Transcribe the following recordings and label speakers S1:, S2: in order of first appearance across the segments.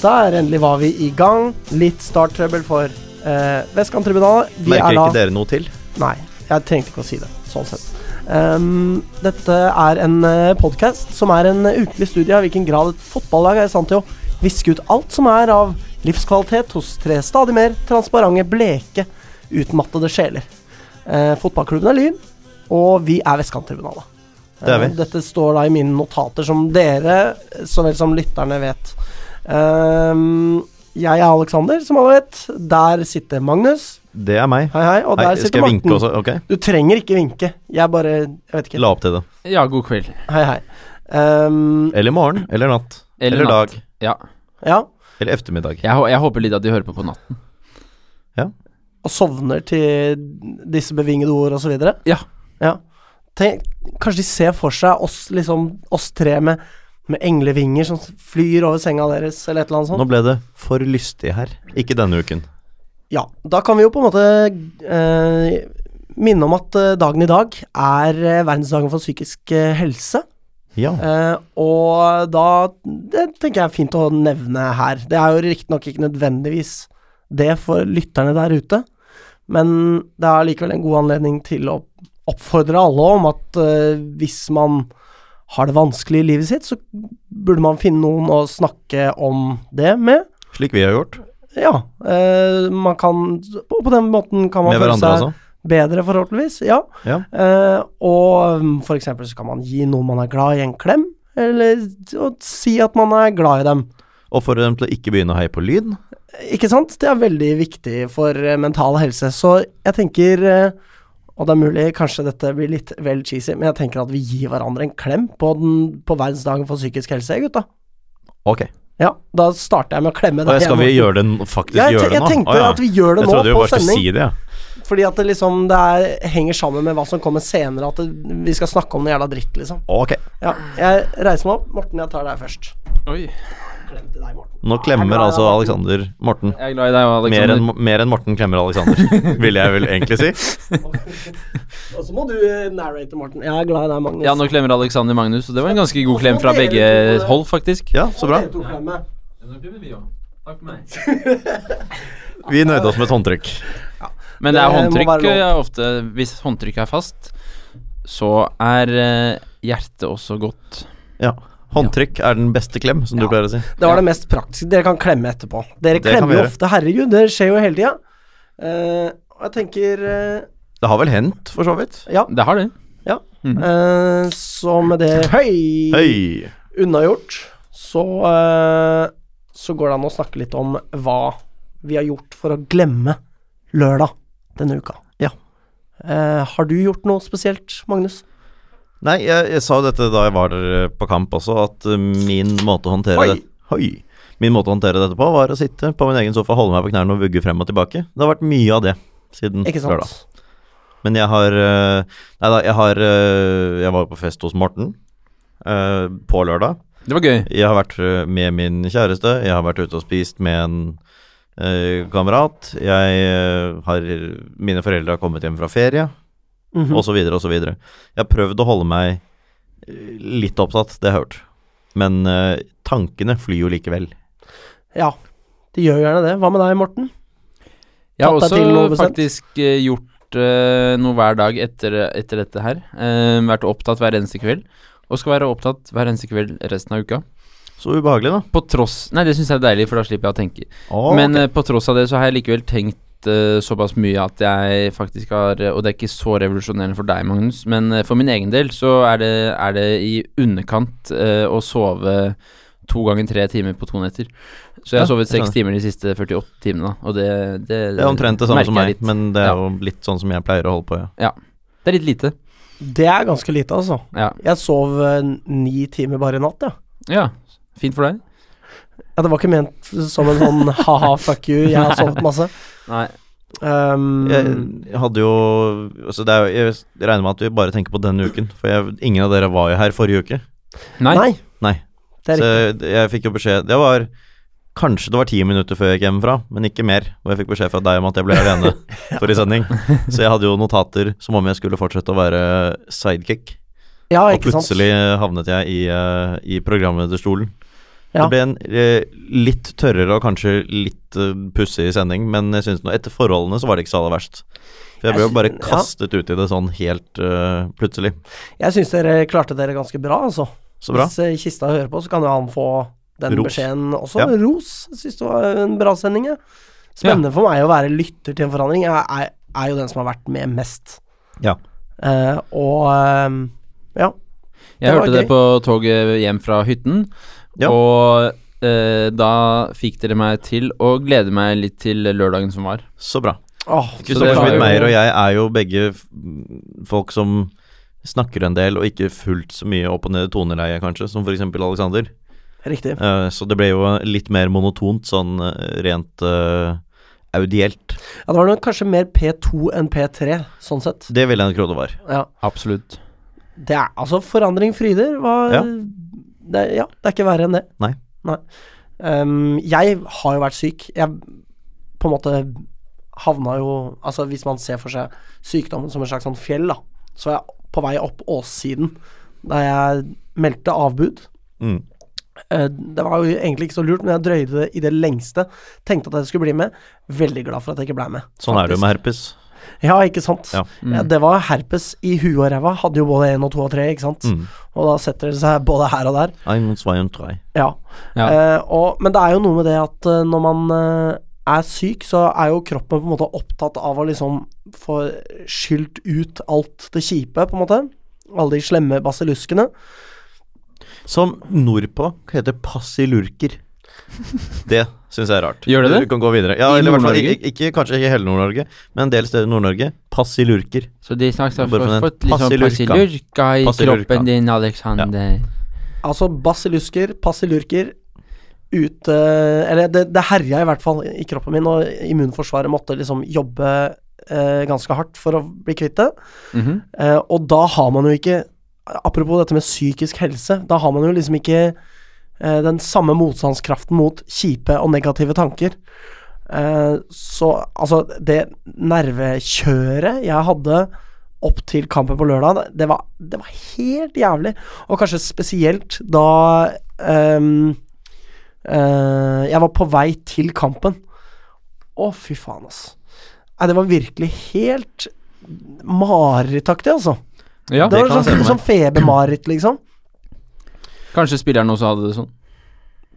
S1: pausa. Endelig var vi i gang. Litt starttrøbbel for eh, Vestkanttribunalet. Vi
S2: Merker
S1: er da
S2: ikke dere noe til?
S1: Nei, jeg trengte ikke å si det. Sånn sett. Ehm, dette er en uh, podkast som er en eh, ukentlig studie av i hvilken grad et fotballag er i stand til å viske ut alt som er av livskvalitet hos tre stadig mer transparente, bleke, utmattede sjeler. Eh, fotballklubben er Lyn, og vi er Vestkanttribunalet.
S2: Det er vi.
S1: Eh, dette står da i mine notater, som dere eh, så vel som lytterne vet. Ehm, jeg er Aleksander, som alle vet. Der sitter Magnus.
S2: Det er meg.
S1: Hei, hei. Og
S2: Hei,
S1: der sitter
S2: skal jeg
S1: Morten.
S2: vinke også? Ok,
S1: Du trenger ikke vinke. Jeg bare Jeg vet ikke.
S2: la opp til det.
S3: Ja, god kveld.
S1: Hei, hei. Ehm,
S2: Eller morgen, eller natt.
S3: Eller
S2: Eller,
S3: natt.
S2: dag.
S3: Ja.
S1: ja.
S2: Eller eftermiddag.
S3: Jeg, hå- jeg håper litt at de hører på på natten.
S1: Og sovner til disse bevingede ord og så videre.
S3: Ja.
S1: Ja. Tenk, kanskje de ser for seg oss, liksom, oss tre med, med englevinger som flyr over senga deres, eller et eller annet sånt.
S2: Nå ble det for lystig her. Ikke denne uken.
S1: Ja, da kan vi jo på en måte eh, minne om at eh, dagen i dag er eh, verdensdagen for psykisk eh, helse.
S2: Ja.
S1: Eh, og da Det tenker jeg er fint å nevne her. Det er jo riktignok ikke nødvendigvis det for lytterne der ute, men det er likevel en god anledning til å oppfordre alle om at eh, hvis man har det vanskelig i livet sitt, så burde man finne noen å snakke om det med.
S2: Slik vi har gjort.
S1: Ja, eh, man kan Og på den måten kan man
S2: Med
S1: føle
S2: hverandre,
S1: seg
S2: altså.
S1: bedre, forhåpentligvis. Ja.
S2: Ja.
S1: Eh, og um, for eksempel så kan man gi noen man er glad i, en klem. Eller og si at man er glad i dem.
S2: Og for dem til å ikke begynne å heie på lyd.
S1: Ikke sant? Det er veldig viktig for eh, mental helse. Så jeg tenker eh, Og det er mulig kanskje dette blir litt vel cheesy, men jeg tenker at vi gir hverandre en klem på, den, på verdensdagen for psykisk helse, gutta.
S2: Ok.
S1: Ja, da starter jeg med å klemme
S2: Og
S1: deg.
S2: skal vi
S1: igjen.
S2: gjøre det n- faktisk
S1: jeg,
S2: gjøre
S1: te-
S2: det nå?
S1: jeg tenkte
S2: Å, ja.
S1: at vi gjør det
S2: jeg
S1: nå
S2: trodde vi
S1: på
S2: bare skulle
S1: sending.
S2: si det, ja.
S1: Fordi at det liksom det er, henger sammen med hva som kommer senere, at det, vi skal snakke om noe jævla dritt, liksom.
S2: Ok.
S1: Ja, jeg reiser meg opp. Morten, jeg tar deg først.
S3: Oi.
S1: Klem til deg, Morten.
S2: Nå klemmer
S1: Nei, nei,
S2: altså
S1: nei, nei.
S2: Alexander Morten.
S3: Jeg er glad i deg og
S2: Mer
S3: Alexander.
S2: enn, mer enn Morten klemmer Alexander, vil jeg vel egentlig si.
S1: Og så må du eh, narrate, Morten. Jeg er glad i deg, Magnus.
S3: Ja, nå klemmer Alexander Magnus, og det var en ganske god klem fra
S1: Hvorfor
S3: begge
S1: dere to på det?
S3: hold, faktisk.
S2: Ja, så bra.
S1: Dere to klemmer.
S2: Vi nøyde oss med et håndtrykk.
S3: Men det er
S1: Det må være
S3: håndtrykk
S1: lov.
S3: eh, ofte Hvis håndtrykket er fast, så er eh, hjertet også godt.
S2: Ja. Håndtrykk er den beste klem, som du
S1: Ja.
S2: pleier å si.
S1: Det var det mest praktiske. Dere kan klemme etterpå. Dere
S2: Det kan vi
S1: klemmer jo
S2: gjøre.
S1: ofte. Herregud, det skjer jo hele tida. Eh, og jeg tenker eh,
S2: Det har vel hendt, for så vidt.
S1: Ja.
S3: Det har det.
S1: ja. Eh, så med det Høy!
S2: Hei!
S1: unnagjort, så, eh, så går det an å snakke litt om hva vi har gjort for å glemme lørdag denne uka.
S2: Ja.
S1: Eh, har du gjort noe spesielt, Magnus?
S2: Nei, jeg, jeg sa jo dette da jeg var eh, på kamp også, at eh, min måte å håndtere
S1: Hoi!
S2: det Hoi! Min måte å håndtere dette på, var å sitte på min egen sofa, holde meg på knærne og vugge frem og tilbake. Det har vært mye av det siden
S1: Ikke sant?
S2: lørdag. Men jeg har eh, Nei da, jeg har eh, Jeg var jo på fest hos Morten eh, på lørdag.
S3: Det var gøy.
S2: Jeg har vært eh, med min kjæreste, jeg har vært ute og spist med en eh, kamerat. Jeg eh, har Mine foreldre har kommet hjem fra ferie
S1: Mhm.
S3: Mm.
S2: og så videre og så videre. Jeg har prøvd å holde meg eh, litt opptatt, det har jeg hørt. Men eh, tankene flyr jo likevel.
S1: Ja, de gjør gjerne det. Hva med deg, Morten?
S3: Jeg har
S1: Tatt deg til noe
S3: også
S1: bestemt?
S3: faktisk eh, gjort eh, noe hver dag etter, etter dette her. Eh, vært opptatt hver eneste kveld. Og skal være opptatt hver eneste kveld resten av uka.
S2: Så ubehagelig, da.
S3: På tross Nei, det syns jeg er deilig, for da slipper jeg å tenke. Men
S2: Men,
S3: eh, på tross av det så har jeg likevel tenkt eh, såpass mye at jeg faktisk har eh, Og det er ikke så revolusjonerende for deg, Magnus, men eh, for min egen del så er det, er det i underkant eh, å sove to ganger tre timer på to netter. Så jeg
S2: Ja,
S3: har sovet
S2: jeg
S3: seks
S2: skjønner.
S3: timer de siste 48 timene, da, og det, det
S2: det er omtrent det samme
S3: merker
S2: som
S3: jeg
S2: meg,
S3: litt.
S2: men det er
S3: Ja.
S2: jo litt sånn som jeg pleier å holde på, ja.
S3: Det er litt lite.
S1: Det er ganske lite, altså.
S3: Ja.
S1: Jeg sov eh, ni timer bare i natt, ja.
S3: ja. Fint for deg.
S1: ja. Det var ikke ment som en sånn ha-ha, fuck you, jeg har sovet masse.
S3: Nei. Mm.
S1: Um,
S2: Jeg, jeg hadde jo altså det er, jo- Jeg regner med at vi bare tenker på denne uken, for jeg, ingen av dere var jo her forrige uke.
S3: Nei.
S1: nei.
S2: Nei.
S1: Det er
S2: Så
S1: riktig.
S2: jeg, jeg fikk jo beskjed Det var Kanskje det var ti minutter før jeg gikk hjemmefra, men ikke mer. Og jeg fikk beskjed fra deg om at jeg ble alene for i sending. Så jeg hadde jo notater som om jeg skulle fortsette å være sidekick.
S1: Ja,
S2: Og
S1: ikke sant.
S2: plutselig havnet jeg i, eh, i eh, programlederstolen.
S1: Ja.
S2: Det ble en eh, litt tørrere og kanskje litt eh, pussig sending, men jeg synes nå, etter forholdene så var det ikke så aller verst. For jeg ble
S1: Jeg
S2: jo bare
S1: syn- ja.
S2: kastet ut i det sånn helt eh, plutselig.
S1: Jeg syns dere klarte dere ganske bra, altså.
S2: Så bra.
S1: Hvis eh, Kista hører på, så kan jo han få den
S2: Ros.
S1: beskjeden også.
S2: Ja.
S1: Ros. Jeg syns det var en bra sending, jeg. Spennende for meg å være lytter til en forandring. Jeg er, er jo den som har vært med mest.
S2: Ja.
S1: Eh, og ehm, ja.
S3: Jeg
S1: Det var
S3: hørte
S1: gøy.
S3: det på toget hjem fra hytten,
S2: Ja.
S3: og eh, da fikk dere meg til å glede meg litt til lørdagen som var.
S2: Så bra.
S1: Åh,
S3: det
S2: Kristoffer
S3: var
S2: Schmidt
S3: jo-
S2: Meyer og jeg er jo begge f- folk som snakker en del, og ikke fullt så mye opp og ned i toneleiet, kanskje, som f.eks. Alexander.
S1: Riktig.
S2: Eh, så det ble jo litt mer monotont, sånn eh, rent eh, audielt.
S1: Ja, det var nok kanskje mer P2 enn P3, sånn sett.
S2: Det ville jeg tro det var.
S1: Ja.
S3: Absolutt.
S1: Det er altså Forandring fryder. Var,
S2: Ja.
S1: Det, ja, det er ikke verre enn det.
S2: Nei.
S1: Ehm, jeg har jo vært syk. Jeg på en måte havna jo Altså hvis man ser for seg sykdommen som et slags sånn fjell, da, så var jeg på vei opp åssiden da jeg meldte avbud.
S2: Mm.
S1: Eh, Det var jo egentlig ikke så lurt, men jeg drøyde det i det lengste. Tenkte at jeg skulle bli med. Veldig glad for at jeg ikke ble med.
S2: Sånn er det jo med herpes.
S1: Ja, ikke sant.
S2: Ja.
S1: Ja, det var herpes i huet og ræva. Hadde jo både én og to og tre, ikke sant.
S2: Mm.
S1: Og da setter det seg både her og der.
S2: Ein und zwei und drei.
S1: Ja.
S3: Ja.
S1: Eh, og, men det er jo noe med det at eh, når man eh, er syk, så er jo kroppen på en måte opptatt av å liksom få skylt ut alt det kjipe, på en måte. Alle de slemme basilluskene.
S2: Som nordpå heter passilurker. Det syns jeg er rart.
S3: Gjør det det?
S2: Du kan gå videre. Ja,
S3: I
S2: eller i hvert fall
S3: Nord-Norge?
S2: ikke, ikke, kanskje ikke hele Nord-Norge, men en del steder i Nord-Norge. Passilurker.
S3: Så de snakket har
S2: Bare for den
S3: fått litt sånn
S2: passilurka.
S3: passilurka i
S2: Passilurka.
S3: kroppen din, Alexander.
S1: Altså basillusker, basilurker ute Eller det, det herja i hvert fall i kroppen min, og immunforsvaret måtte liksom jobbe eh, ganske hardt for å bli kvitt det.
S3: Mhm.
S1: Eh, og da har man jo ikke Apropos dette med psykisk helse, da har man jo liksom ikke eh, den samme motstandskraften mot kjipe og negative tanker. Eh, så altså, det nervekjøret jeg hadde opp til kampen på lørdag, det var, det var helt jævlig. Og kanskje spesielt da ehm, eh, jeg var på vei til kampen. Å, fy faen, altså. Nei, det var virkelig helt marerittaktig, altså.
S3: Ja,
S1: det
S2: det
S1: var
S2: kan jeg se
S1: sånn,
S2: for meg.
S1: sånn febermareritt, liksom.
S3: kanskje spilleren også hadde det sånn.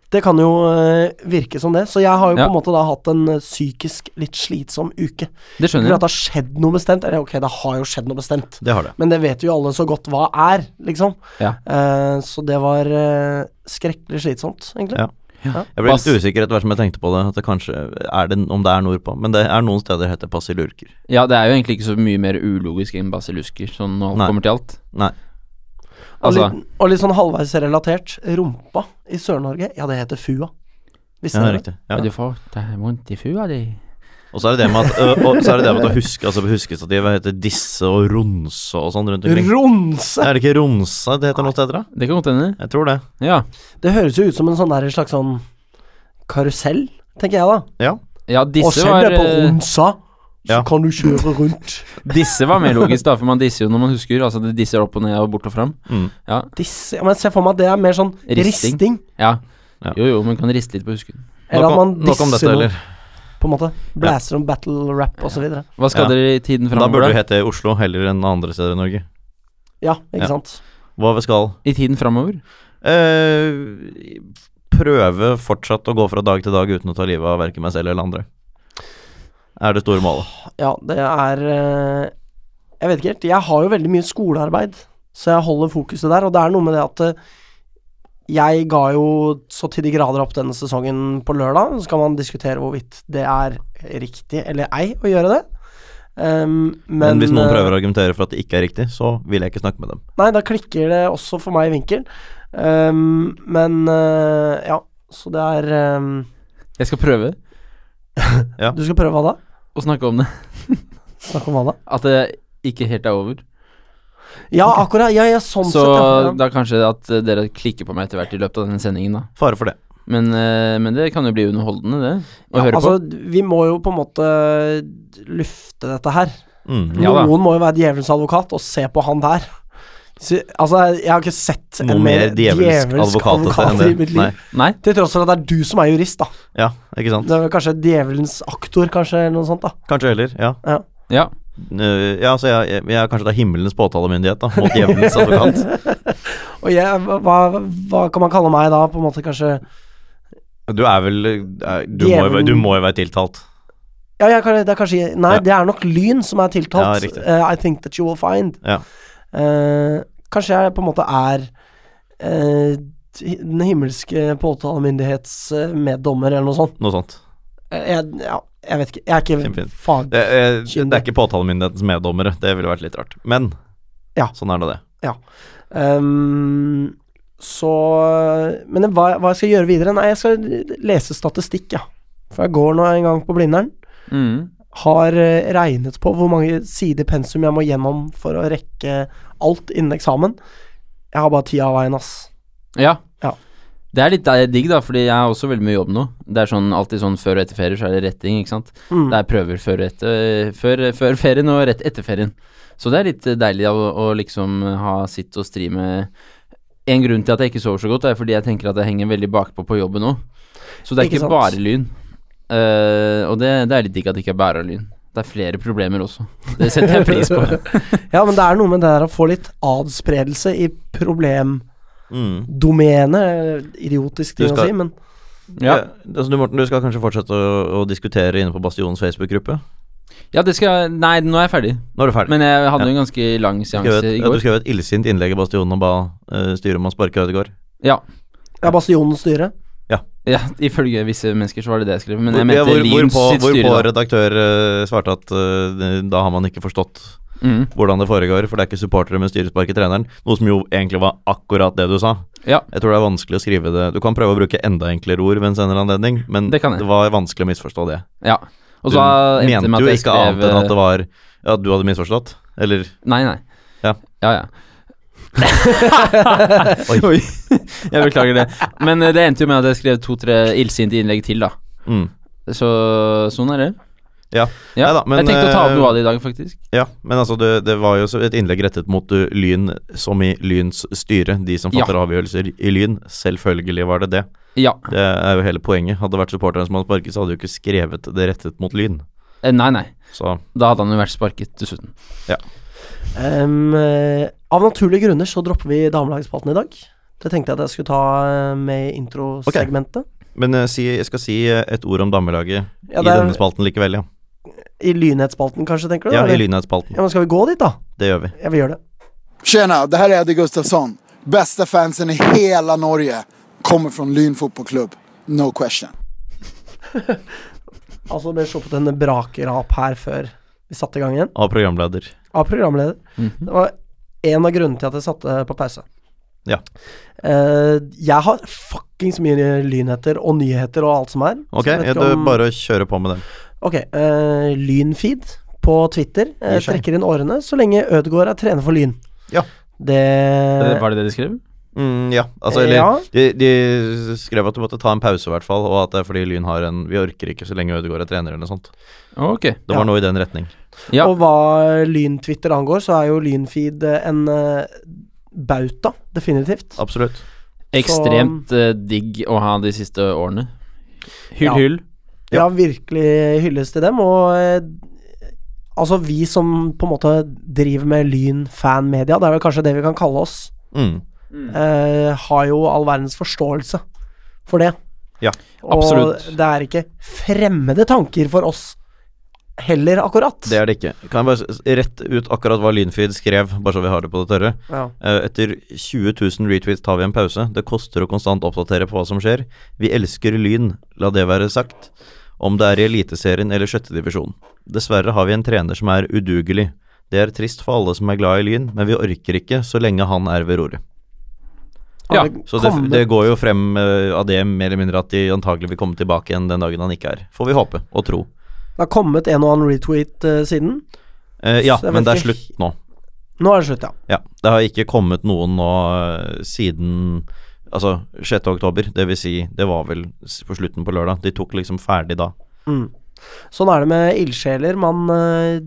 S1: Det kan jo øh, virke som det. Så jeg har jo
S3: Ja.
S1: på en måte da hatt en øh, psykisk litt slitsom uke. For
S3: Det
S1: at
S3: skjønner jeg.
S1: det har skjedd noe bestemt Eller ok, det har jo skjedd noe bestemt.
S2: Det har det.
S1: Men det vet jo alle så godt hva er, liksom.
S3: Ja.
S1: Eh, så det var øh, skrekkelig slitsomt, egentlig.
S2: Ja. Jeg ble
S3: Pass.
S2: litt usikker etter hvert som jeg tenkte på det, at det kanskje er det, om det er nordpå. Men det er noen steder det heter passilurker.
S3: Ja, det er jo egentlig ikke så mye mer ulogisk enn basillusker, sånn når
S2: Nei.
S3: alt kommer til alt.
S2: Nei.
S1: Og,
S3: Altså,
S1: litt, og litt sånn halvveis relatert. Rumpa i Sør-Norge, ja, det heter fua. Visste
S2: Ja,
S1: dere det?
S2: riktig.
S3: ja.
S2: Ja.
S3: du får det er vondt i fua di.
S2: Og så er det det med at, ø, og så er det det med at å huske, altså huskestativet heter disse og ronse og sånn rundt omkring.
S1: Ronse!
S2: Er det ikke ronsa det heter noen steder, da?
S3: Det kan godt hende.
S2: Jeg tror det.
S3: Ja.
S1: Det høres jo ut som en sånn der slags sånn karusell, tenker jeg da.
S2: Ja.
S3: ja,
S1: Og
S3: disse
S1: selv
S3: var
S1: det på
S3: eh,
S1: Ronsa, så
S2: Ja.
S1: kan du kjøre rundt.
S3: Disse var mer logisk, da, for man disser jo når man husker. Altså, det disser opp og ned og bort og fram.
S2: Mm.
S3: Ja.
S1: Disse, ja, men jeg ser for meg at det er mer sånn risting.
S3: Risting. ja.
S2: Ja.
S3: Jo, jo, man kan riste litt på husken.
S1: Eller
S2: Nok
S1: at man
S2: om- nok om dette,
S1: disser noe,
S2: eller?
S1: på en måte. Blaster om battle rap osv.
S3: Hva skal
S2: Ja.
S3: dere i tiden
S2: Da
S3: framover,
S2: burde
S3: da?
S2: det hete Oslo heller enn andre steder i Norge.
S1: Ja, ikke
S2: Ja.
S1: sant.
S2: Hva vi skal?
S3: I tiden framover?
S2: Eh, prøve fortsatt å gå fra dag til dag uten å ta livet av verken meg selv eller andre. Er det store målet.
S1: Ja, det er eh, Jeg vet ikke helt. Jeg har jo veldig mye skolearbeid, så jeg holder fokuset der. Og det er noe med det at eh, jeg ga jo så til de grader opp denne sesongen på lørdag. Så kan man diskutere hvorvidt det er riktig eller ei å gjøre det. Ehm,
S2: Men, hvis noen
S1: eh,
S2: prøver å argumentere for at det ikke er riktig, så vil jeg ikke snakke med dem.
S1: Nei, da klikker det også for meg i vinkel. Ehm, men eh, ja, så det er ehm,
S3: Jeg skal prøve
S1: Du skal prøve hva da?
S3: å snakke om det.
S1: Snakke om hva da?
S3: At det ikke helt er over.
S1: Ja, akkurat. Ja, ja, sånn
S3: Så
S1: sett. Ja.
S3: da kanskje at eh, dere klikker på meg etter hvert i løpet av denne sendingen, da.
S2: Fare for det.
S3: Men, eh, men det kan jo bli underholdende, det. Å
S1: Ja,
S3: høre
S1: altså, vi må jo på en måte lufte dette her.
S2: Mm.
S3: Ja da.
S1: Noen må jo være djevelens advokat og se på han der. Så, altså, jeg har ikke sett en
S2: Noe
S1: mer
S2: mer
S1: djevelsk advokat, i mitt liv.
S2: Nei.
S3: Nei?
S1: Til tross for at det er du som er jurist, da.
S2: Ja, ikke sant.
S1: Det er vel kanskje djevelens aktor, kanskje, eller noe sånt, da.
S2: Kanskje heller, ja.
S1: Ja.
S3: Ja.
S2: Eh, ja, så jeg, jeg, jeg er kanskje da himmelens påtalemyndighet, da, mot djevelens advokat.
S1: Og jeg, hva, hva kan man kalle meg da, på en måte, kanskje
S2: Du er vel eh, Du må jo, være- du må jo være tiltalt.
S1: Ja, jeg kan, det er kanskje Nei,
S2: Ja.
S1: det er nok lyn som er tiltalt.
S2: Ja, riktig.
S1: Eh, I think that you will find.
S2: Ja.
S1: Eh, kanskje jeg på en måte er eh, den himmelske påtalemyndighets eh, meddommer, eller noe sånt.
S2: Noe sånt.
S1: Eh, Jeg, ja, jeg vet ikke. Jeg er ikke
S2: Kjempefint.
S1: fag...
S2: Det, eh, det er ikke påtalemyndighetens meddommere, det ville vært litt rart. Men
S1: Ja.
S2: sånn er nå det.
S1: Ehm, så Men hva, hva jeg skal gjøre videre? Nei, jeg skal lese statistikk, ja. For jeg går nå en gang på Blindern.
S3: Mm.
S1: Har eh, regnet på hvor mange sider pensum jeg må gjennom for å rekke alt innen eksamen. Jeg har bare tida av veien, ass.
S3: ja.
S1: Ja.
S3: Det er litt eh, digg, da, fordi jeg har også veldig mye jobb nå. Det er sånn alltid sånn før og etter ferier, så er det retting, ikke sant.
S1: Mm.
S3: Det er prøver før, og etter, før, før ferien og rett etter ferien. Så det er litt eh, deilig å, å liksom ha sitt og stri med En grunn til at jeg ikke sover så godt, er fordi jeg tenker at jeg henger veldig bakpå på jobben nå. Så det er
S1: Ikke
S3: ikke,
S1: sant.
S3: bare lyn. Eh, og det, det er litt digg at det ikke er bare lyn. Det er flere problemer også. Det setter jeg pris på.
S1: Ja, men det er noe med det der å få litt adspredelse i problemdomenet.
S2: Mm.
S1: Idiotisk
S2: Du
S1: ting å
S2: skal-
S1: si, men
S3: Ja.
S2: Eh, altså, du, Morten, du skal kanskje fortsette å, å diskutere inne på Bastionens Facebook-gruppe?
S3: ja, det skal Nei, nå er jeg ferdig.
S2: Nå er du ferdig.
S3: Men jeg hadde jo en ganske lang
S2: Du skrev
S3: seanse
S2: et-
S3: i
S2: ja, du
S3: går.
S2: skrev et illsint innlegg i Bastionen og ba eh, styret om å sparke Ødegaard.
S3: Ja.
S1: Ja, Bastionens styre.
S3: ja, ifølge visse mennesker så var det det jeg skrev. Men
S2: Hvor-
S3: jeg
S2: ja,
S3: mente
S2: hvor-
S3: Lyns
S2: hvorpå-
S3: sitt
S2: Hvorpå
S3: styre, da.
S2: redaktør eh, svarte at eh, da har man ikke forstått
S3: Mm.
S2: hvordan det foregår, for det er ikke supportere med styrespark i treneren. Noe som jo egentlig var akkurat det du sa.
S3: Ja.
S2: Jeg tror det er vanskelig å skrive det Du kan prøve å bruke enda enklere ord ved en senere anledning, men
S3: Det kan jeg.
S2: var vanskelig å misforstå det.
S3: Ja. Og
S2: du
S3: så endte det
S2: mente
S3: med
S2: jo
S3: at jeg
S2: ikke annet enn at
S3: skrev eh,
S2: det var Ja, du hadde misforstått? Eller
S3: Nei, nei.
S2: Ja.
S3: ja. ja.
S2: Oi.
S3: Oi. jeg beklager det. Men eh, det endte jo med at jeg skrev to-tre illsinte innlegg til, da.
S2: mm.
S3: Så sånn er det.
S2: Ja.
S3: ja.
S2: Neida, men,
S3: jeg tenkte å ta opp
S2: eh,
S3: noe av det i dag, faktisk.
S2: Ja, men altså, det, det var jo så et innlegg rettet mot uh, Lyn som i Lyns styre. De som fatter avgjørelser i Lyn. Selvfølgelig var det det.
S3: Ja.
S2: Det er jo hele poenget. Hadde det vært supporteren som hadde sparket, så hadde jo ikke skrevet det rettet mot Lyn.
S3: Eh, Nei, nei.
S2: Så
S3: Da hadde han jo vært sparket, dessuten.
S1: Ehm, eh, av naturlige grunner så dropper vi damelagsspalten i dag. Det tenkte jeg at jeg skulle ta eh, med i introsegmentet.
S2: Men eh, si, jeg skal si eh, et ord om damelaget
S1: Ja,
S2: i
S1: det er-
S2: denne spalten likevel, ja.
S1: I lynhetsspalten, kanskje, tenker du?
S2: Ja,
S1: eller?
S2: i Lynhetsspalten.
S1: ja, men Skal vi gå dit, da?
S2: Det gjør vi.
S1: Jeg vil gjøre det.
S4: Tjena, det här är Eddie Gustafsson. Bästa fansen i hela Norge. Kommer från Lyn fotbollklubb. No question.
S1: Altså, det ble sluppet en brakerap her før vi satte i gang igjen,
S2: Av programleder.
S1: av programleder.
S2: Mhm.
S1: Det var en av grunnene til at jeg satte på pause.
S2: Ja.
S1: Eh, jeg har fuckings mye lynheter og nyheter og alt som er. så
S2: Ok,
S1: jeg vet
S2: ja,
S1: ikke
S2: det er
S1: om-
S2: bare å kjøre på med det.
S1: Ok, eh, Lynfeed på Twitter eh,
S2: Gir seg.
S1: trekker inn årene så lenge Ødegaard er trener for Lyn.
S2: Ja.
S1: Det
S3: Eh, Var det det de skrev?
S2: Mm, ja, altså
S1: Eh,
S2: eller,
S1: ja.
S2: de, de skrev at du måtte ta en pause, i hvert fall, og at det er fordi Lyn har en Vi orker ikke så lenge Ødegaard er trener, eller noe sånt.
S3: Ok.
S2: Det var noe i den retning.
S3: Ja.
S1: Og hva Lyn-Twitter angår, så er jo Lynfeed eh, en eh, bauta, definitivt.
S2: Absolutt.
S3: Ekstremt eh, digg å ha de siste årene. Hyll,
S1: Ja.
S3: hyll.
S1: Ja, virkelig hylles til dem. Og eh, altså, vi som på en måte driver med Lyn-fanmedia, det er vel kanskje det vi kan kalle oss,
S2: Mm.
S1: eh, har jo all verdens forståelse for det.
S2: Ja,
S1: Og
S3: absolutt.
S1: det er ikke fremmede tanker for oss heller, akkurat.
S2: Det er det ikke. Kan jeg bare s- rett ut akkurat hva Lynfeed skrev, bare så vi har det på det tørre?
S1: Ja.
S2: Eh, Etter 20 000 retweets tar vi en pause. Det koster å konstant oppdatere på hva som skjer. Vi elsker Lyn, la det være sagt. Om det er i Eliteserien eller sjettedivisjon. Dessverre har vi en trener som er udugelig. Det er trist for alle som er glad i Lyn, men vi orker ikke så lenge han er ved roret.
S3: Ja,
S1: Hadde
S2: Så det,
S1: kommet-
S2: det går jo frem eh, av det mer eller mindre at de antagelig vil komme tilbake igjen den dagen han ikke er. Får vi håpe og tro.
S1: Det har kommet en og annen retweet eh, siden.
S2: Eh, ja,
S1: Så jeg
S2: men
S1: vet
S2: det er
S1: ikke-
S2: slutt nå.
S1: Nå er det slutt, ja.
S2: Ja, det har ikke kommet noen nå eh, siden Altså 6. oktober, det vil si, det var vel s- på slutten på lørdag. De tok liksom ferdig da.
S1: Sånn er det med ildsjeler. Man eh,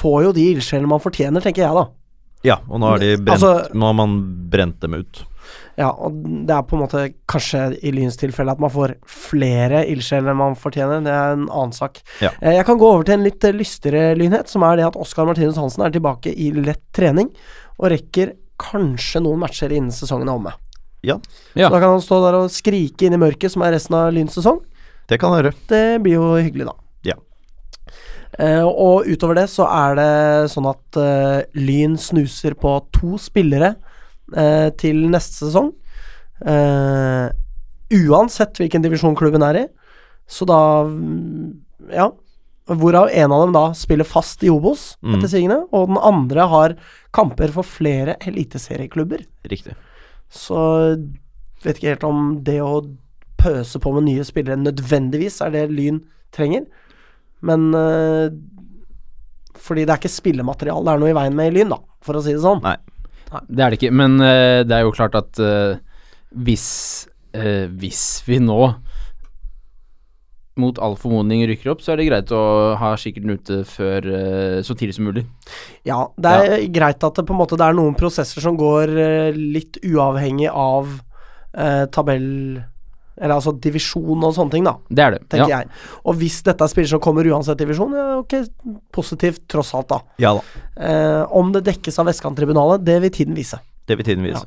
S1: får jo de ildsjelene man fortjener, tenker jeg, da.
S2: Ja, og nå, er de brent,
S1: Altså-
S2: nå har man brent dem ut.
S1: Ja, og det er på en måte kanskje i Lyns tilfelle at man får flere ildsjeler enn man fortjener. Det er en annen sak.
S2: Ja.
S1: Eh, Jeg kan gå over til en litt eh, lystigere lynhet, som er det at Oskar Martinus Hansen er tilbake i lett trening og rekker kanskje noen matcher innen sesongen er omme.
S2: Ja,
S3: Ja.
S1: Så da kan han stå der og skrike inn i mørket, som er resten av Lyns sesong.
S2: det kan jeg gjøre.
S1: Det blir jo hyggelig, da.
S2: Ja.
S1: Eh, og utover det så er det sånn at eh, Lyn snuser på to spillere eh, til neste sesong. Eh, uansett hvilken divisjon klubben er i. Så da mm, Ja. Hvorav en av dem da spiller fast i Obos, etter sigende. Og den andre har kamper for flere eliteserieklubber.
S2: Riktig.
S1: Så vet ikke helt om det å pøse på med nye spillere nødvendigvis er det Lyn trenger. Men eh, Fordi det er ikke spillemateriale det er noe i veien med i Lyn, da, for å si det sånn.
S2: Nei.
S3: Det er det ikke, men eh, det er jo klart at eh, hvis, eh, hvis vi nå mot all formodning rykker opp, så er det greit å ha kikkerten ute før eh, så tidlig som mulig.
S1: Ja, det er greit at det på en måte det er noen prosesser som går eh, litt uavhengig av eh, tabell Eller altså divisjon og sånne ting, da.
S3: Det er det.
S1: Tenker jeg. Og hvis dette er spillere som kommer uansett divisjon, ja, ok, positivt tross alt, da.
S2: Ja da.
S1: Eh, om det dekkes av Vestkanttribunalet, det vil tiden vise.
S2: Det vil tiden vise.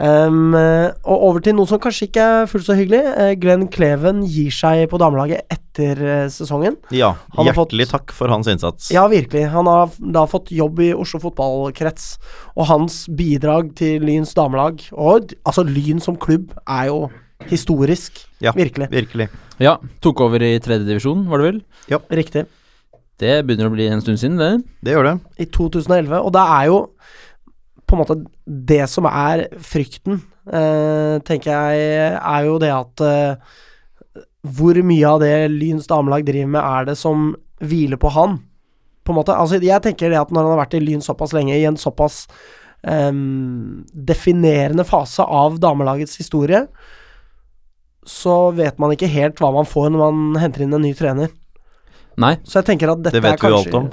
S1: Um, eh, og over til noe som kanskje ikke er fullt så hyggelig. Eh, Glenn Kleven gir seg på damelaget etter eh, sesongen.
S2: Ja,
S1: Han har fått-
S2: hjertelig takk for hans innsats.
S1: Ja, virkelig. Han har f- da fått jobb i Oslo fotballkrets, og hans bidrag til Lyns damelag Og d- altså, Lyn som klubb er jo historisk.
S2: Ja,
S1: Virkelig.
S2: Virkelig.
S3: Ja. ja. Tok over i tredje divisjon, var det vel?
S1: Riktig.
S3: Det begynner å bli en stund siden, det.
S2: Det gjør det.
S1: I 2011. Og det er jo på en måte det som er frykten, eh, tenker jeg, er jo det at eh, Hvor mye av det Lyns damelag driver med, er det som hviler på han? På en måte. Altså, jeg tenker det at når han har vært i Lyn såpass lenge, i en såpass eh, definerende fase av damelagets historie, så vet man ikke helt hva man får når man henter inn en ny trener.
S3: Nei.
S1: Så jeg tenker at dette
S2: Det vet
S1: er
S2: vi jo
S1: kanskje
S2: alt om.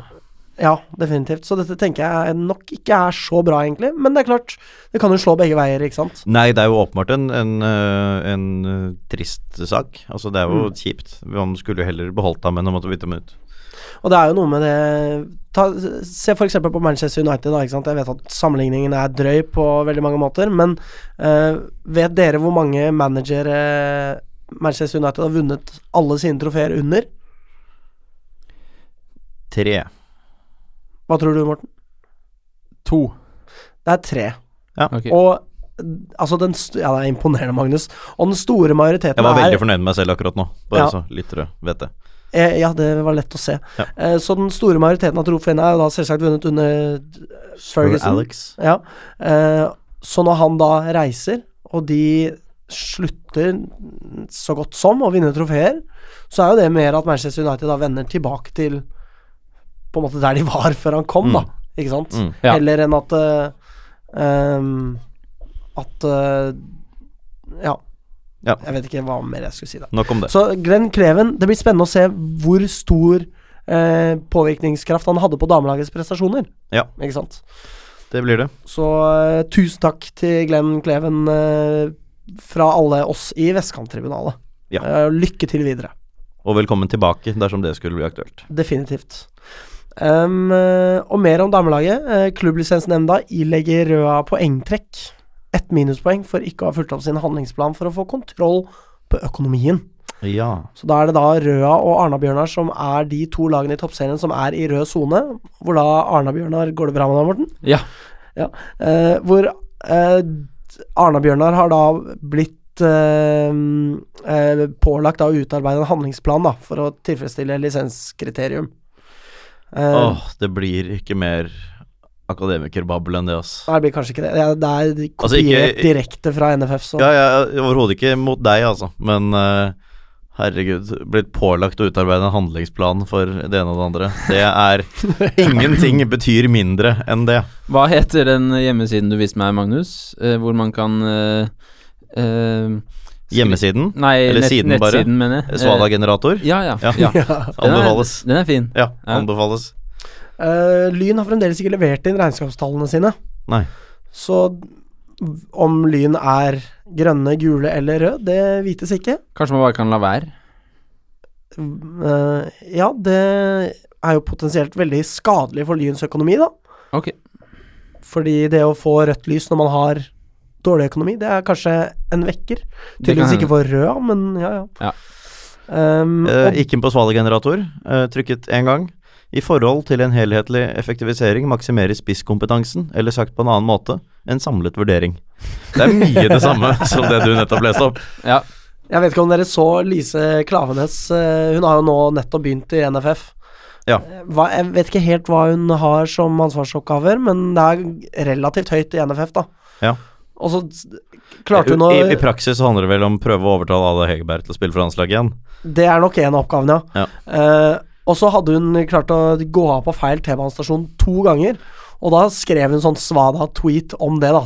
S1: Ja, definitivt. Så dette tenker jeg nok ikke er så bra, egentlig. Men det er klart, det kan jo slå begge veier, ikke sant.
S2: Nei, det er jo åpenbart en, en, øh, en øh, trist sak. Altså, det er jo
S1: Mm.
S2: kjipt. Man skulle jo heller beholdt ham enn å måtte bytte ham ut.
S1: Og det er jo noe med det ta, Se f.eks. på Manchester United, da. Ikke sant? Jeg vet at sammenligningen er drøy på veldig mange måter, men eh, vet dere hvor mange managere Manchester United har vunnet alle sine trofeer under?
S2: Tre.
S1: Hva tror du, Morten?
S3: To.
S1: Det er tre.
S3: Ok.
S1: Og altså den st Ja, det er imponerende, Magnus. Og den store majoriteten
S2: Jeg var
S1: er
S2: veldig fornøyd med meg selv akkurat nå, bare
S1: Ja.
S2: så lyttere vet det.
S1: Eh, ja, det var lett å se.
S2: Ja.
S1: Eh, så den store majoriteten av trofeene er jo da selvsagt vunnet under eh, Ferguson.
S2: Alex.
S1: Ja. Eh, så når han da reiser, og de slutter så godt som å vinne trofeer, så er jo det mer at Manchester United da vender tilbake til på en måte der de var før han kom, da. Ikke sant?
S2: Mm.
S3: Ja.
S1: Heller enn at eh, ehm, At eh, ja.
S2: Ja.
S1: Jeg vet ikke hva mer jeg skulle si der.
S2: Nok om det.
S1: Så Glenn Kleven, det blir spennende å se hvor stor eh, påvirkningskraft han hadde på damelagets prestasjoner.
S2: Ja.
S1: Ikke sant?
S2: Det blir det.
S1: Så eh, tusen takk til Glenn Kleven eh, fra alle oss i Vestkanttribunalet.
S2: Ja.
S1: Eh, lykke til videre.
S2: Og velkommen tilbake dersom det skulle bli aktuelt.
S1: Definitivt. Em, eh, og mer om damelaget. Eh, klubblisensnemnda ilegger Røa poengtrekk. Ett minuspoeng for ikke å ha fulgt opp sin handlingsplan for å få kontroll på økonomien.
S2: Ja.
S1: Så da er det da Røa og Arna-Bjørnar som er de to lagene i toppserien som er i rød sone. Hvor da Arna-Bjørnar Går det bra med deg, Morten?
S3: Ja.
S1: Ja. Eh, hvor eh, Arna-Bjørnar har da blitt eh, eh, pålagt da å utarbeide en handlingsplan da, for å tilfredsstille lisenskriterium. Eh,
S2: Åh, det blir ikke mer akademikerbabel enn det, ass.
S1: Nei, det blir kanskje ikke det. Det er, det er kopiert
S2: Altså, ikke-
S1: direkte fra NFF, så
S2: Ja, jeg er overhodet ikke mot deg, altså, men eh, herregud Blitt pålagt å utarbeide en handlingsplan for det ene og det andre. Det er Ingenting betyr mindre enn det.
S3: Hva heter den hjemmesiden du viste meg, Magnus? Eh, hvor man kan eh, eh, skri-
S2: Hjemmesiden,
S3: Nei,
S2: Eller
S3: nett,
S2: siden bare.
S3: nettsiden, mener jeg. Eh,
S2: Svada-generator,
S3: Ja, ja.
S2: Ja.
S3: ja. Den er-
S2: anbefales.
S3: Den er fin.
S2: Ja, anbefales.
S1: Eh, Lyn har fremdeles ikke levert inn regnskapstallene sine.
S2: Nei.
S1: Så om Lyn er grønne, gule eller rød, det vites ikke.
S3: Kanskje man bare kan la være?
S1: Eh, ja, det er jo potensielt veldig skadelig for Lyns økonomi, da.
S3: Ok.
S1: Fordi det å få rødt lys når man har dårlig økonomi, det er kanskje en vekker.
S3: Det kan
S1: Tydeligvis
S3: hende.
S1: ikke for rød, men ja, ja.
S3: Ja.
S1: Ehm,
S2: Eh,
S1: og
S2: ikke en påsvalegenerator, eh, trykket én gang. I forhold til en helhetlig effektivisering maksimerer spisskompetansen, eller sagt på en annen måte, en samlet vurdering. Det er mye det samme som det du nettopp leste opp.
S3: Ja.
S1: jeg vet ikke om dere så Lise Klavenes. eh, hun har jo nå nettopp begynt i NFF.
S2: Ja.
S1: Eh, Hva, jeg vet ikke helt hva hun har som ansvarsoppgaver, men det er relativt høyt i NFF, da.
S2: Ja.
S1: Og så s- klarte hun å
S2: I, I praksis så handler det vel om å prøve å overtale Ada Hegerberg til å spille for landslaget igjen.
S1: Det er nok en av oppgavene, ja.
S2: Ja.
S1: Eh, og så hadde hun klart å gå av på feil T-banestasjon to ganger, og da skrev hun sånn svada-tweet om det, da.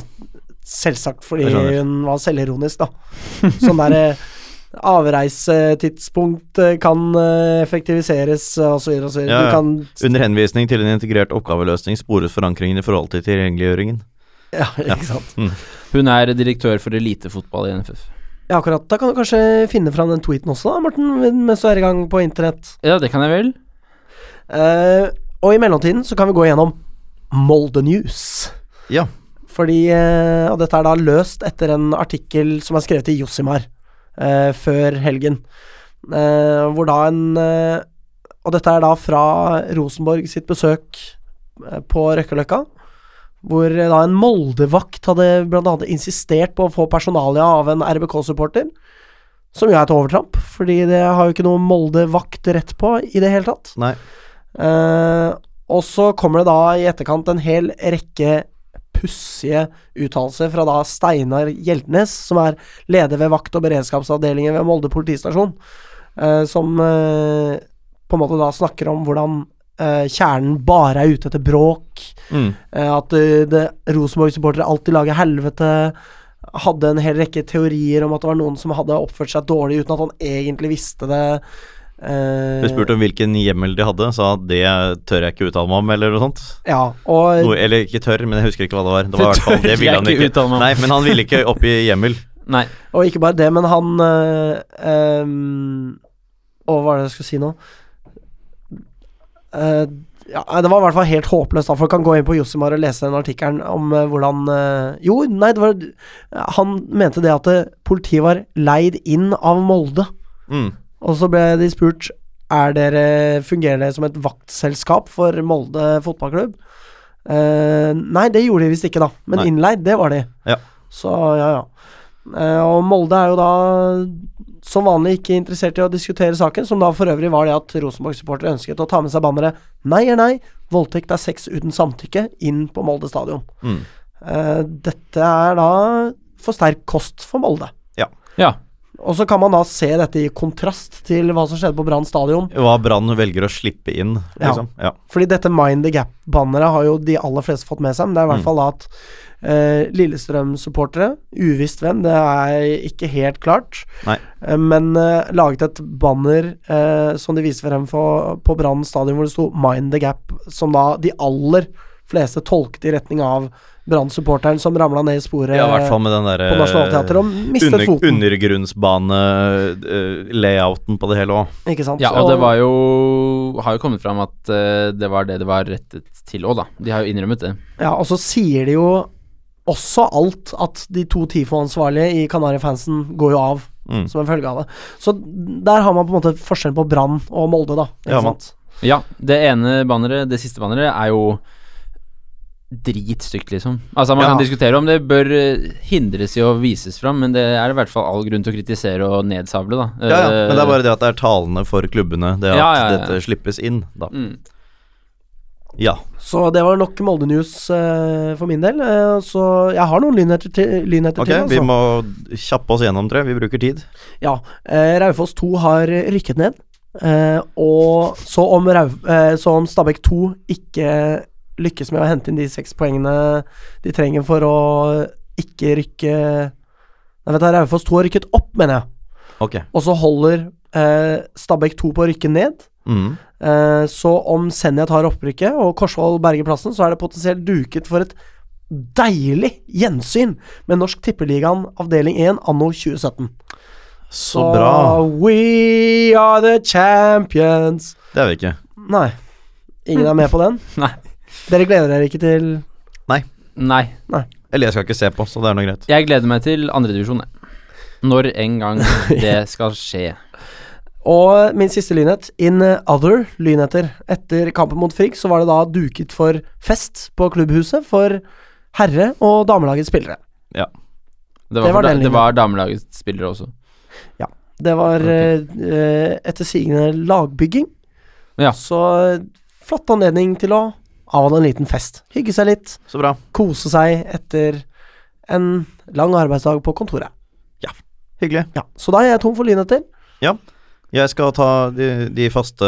S1: Selvsagt fordi
S2: Jeg skjønner.
S1: hun var selvironisk, da. Sånn derre Avreisetidspunkt eh, kan eh, effektiviseres, eh, og så videre og så videre.
S2: Ja, ja.
S1: Du kan
S2: Under henvisning til en integrert oppgaveløsning spores forankringen i forhold til tilgjengeliggjøringen.
S1: Ja, ikke sant.
S3: Hun er direktør for elitefotball i NFF.
S1: Ja, akkurat. Da kan du kanskje finne fram den tweeten også, da, Morten, mens du er i gang på internett.
S3: Ja, det kan jeg vel.
S1: Eh, og i mellomtiden så kan vi gå gjennom Molde News.
S2: Ja.
S1: Fordi, eh, og dette er da løst etter en artikkel som er skrevet i Josimar eh, før helgen. Eh, hvor da en eh, Og dette er da fra Rosenborg sitt besøk eh, på Røkkeløkka. Hvor eh, da en Moldevakt hadde bl.a. insistert på å få personalia av en RBK-supporter. Som jo er et overtramp, fordi det har jo ikke noe Moldevakt rett på i det hele tatt.
S2: Nei.
S1: Eh, og så kommer det da i etterkant en hel rekke pussige uttalelser fra da Steinar Gjeldnes, som er leder ved vakt- og beredskapsavdelingen ved Molde politistasjon, eh, som eh, på en måte da snakker om hvordan eh, kjernen bare er ute etter bråk,
S2: Mm.
S1: eh, at eh, det- Rosenborg-supportere alltid lager helvete. Hadde en hel rekke teorier om at det var noen som hadde oppført seg dårlig uten at han egentlig visste det. Eh,
S2: Ble spurt om hvilken hjemmel de hadde, sa at det tør jeg ikke uttale meg om, eller noe sånt.
S1: ja, og
S2: Noe, eller ikke tør, men jeg husker ikke hva det var. Det var i hvert fall
S3: tør
S2: det ville
S3: jeg
S2: han
S3: ikke
S2: ikke.
S3: uttale meg om.
S2: Nei, men han ville ikke oppgi hjemmel.
S3: Nei.
S1: Og ikke bare det, men han øh, ehm, Å, hva er det jeg skulle si nå? Eh, ja, det var i hvert fall helt håpløst. da. Folk kan gå inn på Josimar og lese den artikkelen om eh, hvordan eh, Jo, nei, det var Han mente det at eh, politiet var leid inn av Molde.
S2: Mm.
S1: Og så ble de spurt Er dere fungerer dere som et vaktselskap for Molde fotballklubb. Eh, nei, det gjorde de visst ikke, da. Men
S2: Nei.
S1: innleid, det var de.
S2: Ja.
S1: Så ja, ja. Eh, og Molde er jo da som vanlig ikke interessert i å diskutere saken, som da for øvrig var det at Rosenborg-supportere ønsket å ta med seg bannere 'Nei er nei, voldtekt er sex uten samtykke' inn på Molde stadion.
S2: Mm.
S1: Eh, dette er da for sterk kost for Molde.
S3: Ja.
S1: Og så kan man da se dette i kontrast til hva som skjedde på Brann stadion.
S2: Hva Brann velger å slippe inn,
S1: Ja.
S2: liksom. Ja.
S1: Fordi dette Mind the Gap-banneret har jo de aller fleste fått med seg, men det er i hvert
S2: Mm.
S1: fall da at eh, Lillestrøm-supportere, uvisst hvem, det er ikke helt klart,
S2: Nei.
S1: eh, men eh, laget et banner eh, som de viste frem for, på Brann stadion, hvor det sto 'Mind the Gap', som da de aller fleste tolket i retning av Brann-supporteren som ramla ned i sporet
S2: ja, i hvert fall eh, med den derre
S1: Eh, på Nationaltheatret og mistet
S2: under,
S1: foten.
S2: Undergrunnsbane-layouten på det hele òg.
S1: Ikke sant?
S3: ja, og det var jo Har jo kommet fram at eh, det var det det var rettet til òg, da. De har jo innrømmet det.
S1: Ja, og så sier de jo også alt at de to TIFO-ansvarlige i Kanarifansen går jo av
S2: Mm.
S1: som en følge av det. Så der har man på en måte forskjell på Brann og Molde, da. Ikke
S2: Ja, man-
S1: sant?
S3: Ja, det ene banneret, det siste banneret, er jo dritstygt, liksom. Altså, man
S1: Ja.
S3: kan diskutere om det bør eh, hindres i å vises fram, men det er i hvert fall all grunn til å kritisere og nedsable, da.
S2: Ja, ja, men det er
S3: Eh,
S2: bare det at det er talende for klubbene, det at
S3: Ja, ja, ja.
S2: dette slippes inn, da.
S3: mm.
S2: Ja.
S1: Så det var nok Molde News eh, for min del. eh, så jeg har noen lynheter til. Lynheter
S2: Ok,
S1: til
S2: vi
S1: altså.
S2: må kjappe oss gjennom, tror jeg. Vi bruker tid.
S1: Ja. eh, Raufoss 2 har rykket ned. eh, og så om, Rau, eh, så om Stabæk 2 ikke lykkes med å hente inn de seks poengene de trenger for å ikke rykke Nei, vet du, Raufoss 2 har rykket opp, mener jeg.
S2: Ok.
S1: Og så holder eh, Stabæk 2 på å rykke ned.
S2: Mm.
S1: Eh, så om Senja tar opprykket og Korsvoll berger plassen, så er det potensielt duket for et deilig gjensyn med Norsk Tippeligaen avdeling 1 anno 2017.
S2: Så bra.
S1: We are the champions.
S2: Det er vi ikke.
S1: Nei. Ingen er med på den?
S3: Eh, Nei.
S1: Dere gleder dere ikke til
S3: Nei.
S2: Eller jeg skal ikke se på, så det er nå greit.
S3: Jeg gleder meg til andredivisjon, jeg. Når en gang det skal skje.
S1: Og min siste lynhet, in other lynheter. Etter kampen mot Frigg så var det da duket for fest på klubbhuset for herre- og damelagets spillere.
S3: Det
S1: Det
S3: var,
S1: var
S3: for da,
S1: den
S3: det
S1: linjen.
S3: var damelagets spillere også.
S1: Det var
S3: Ok.
S1: okay. etter sigende lagbygging.
S3: Ja.
S1: Så eh, flott anledning til å avholde en liten fest. Hygge seg litt,
S2: Så bra.
S1: kose seg etter en lang arbeidsdag på kontoret.
S2: Hyggelig.
S1: Ja, Så da er jeg tom for lynheter.
S2: Jeg skal ta de, de faste,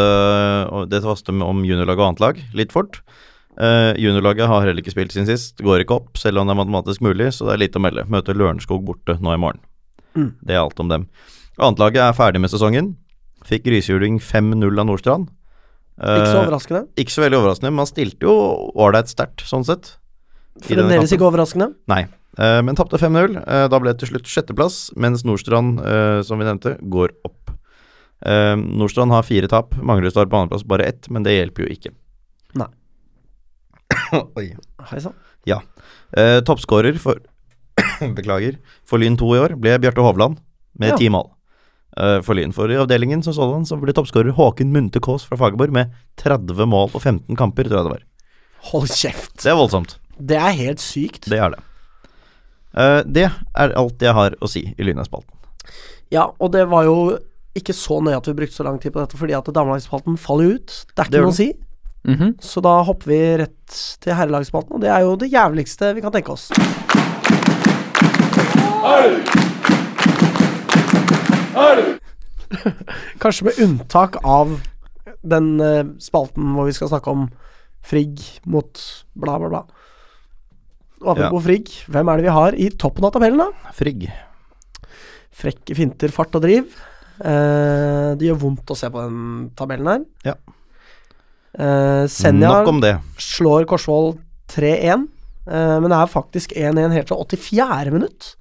S2: og det faste med- om juniorlag og annet lag litt fort. Eh, juniorlaget har heller ikke spilt siden sist. Går ikke opp, selv om det er matematisk mulig, så det er lite å melde. Møter Lørenskog borte nå i morgen.
S1: Mm.
S2: Det er alt om dem. Annetlaget er ferdig med sesongen. Fikk grisehjuling 5-0 av Nordstrand. Eh,
S1: Ikke så overraskende.
S2: ikke så veldig overraskende, men han stilte jo ålreit sterkt, sånn sett. i denne
S1: Fremdeles
S2: kampen.
S1: ikke overraskende.
S2: Eh, Men tapte 5-0. eh, Da ble det til slutt sjetteplass, mens Nordstrand, eh, som vi nevnte, går opp. Eh, Nordstrand har fire tap. Manglerud står på andreplass, bare ett, men det hjelper jo ikke.
S1: Nei.
S2: Oi.
S1: Hei sann.
S2: Eh, Toppskårer for Beklager. For Lyn 2 i år ble Bjarte Hovland med
S1: Ja.
S2: ti mål. Eh, For Lyn for i avdelingen som sådan så ble toppskårer Håken Munthe Kaas fra Fagerborg med 30 mål på 15 kamper, tror jeg det var.
S1: Hold kjeft.
S2: Det er voldsomt.
S1: Det er helt sykt.
S2: Det er det. Eh, det er alt jeg har å si i Lynespalten.
S1: Ja, og det var jo ikke så nøye at vi brukte så lang tid på dette, fordi at damelagsspalten faller jo ut. Det er
S2: Det
S1: ikke
S2: gjør
S1: noe å si.
S3: Mhm.
S1: Så da hopper vi rett til herrelagsspalten, og det er jo det jævligste vi kan tenke oss. Kanskje med unntak av den eh, spalten hvor vi skal snakke om Frigg mot bla, bla, bla. Og apropos Frigg, hvem er det vi har i toppen av tabellen, da?
S2: Frigg.
S1: Frekke finter, fart og driv. Eh, det gjør vondt å se på den tabellen her.
S2: Ja.
S1: Eh, Senja
S2: Nok om det.
S1: slår Korsvoll 3-1, eh, men det er faktisk 1-1 helt til 84. minutt.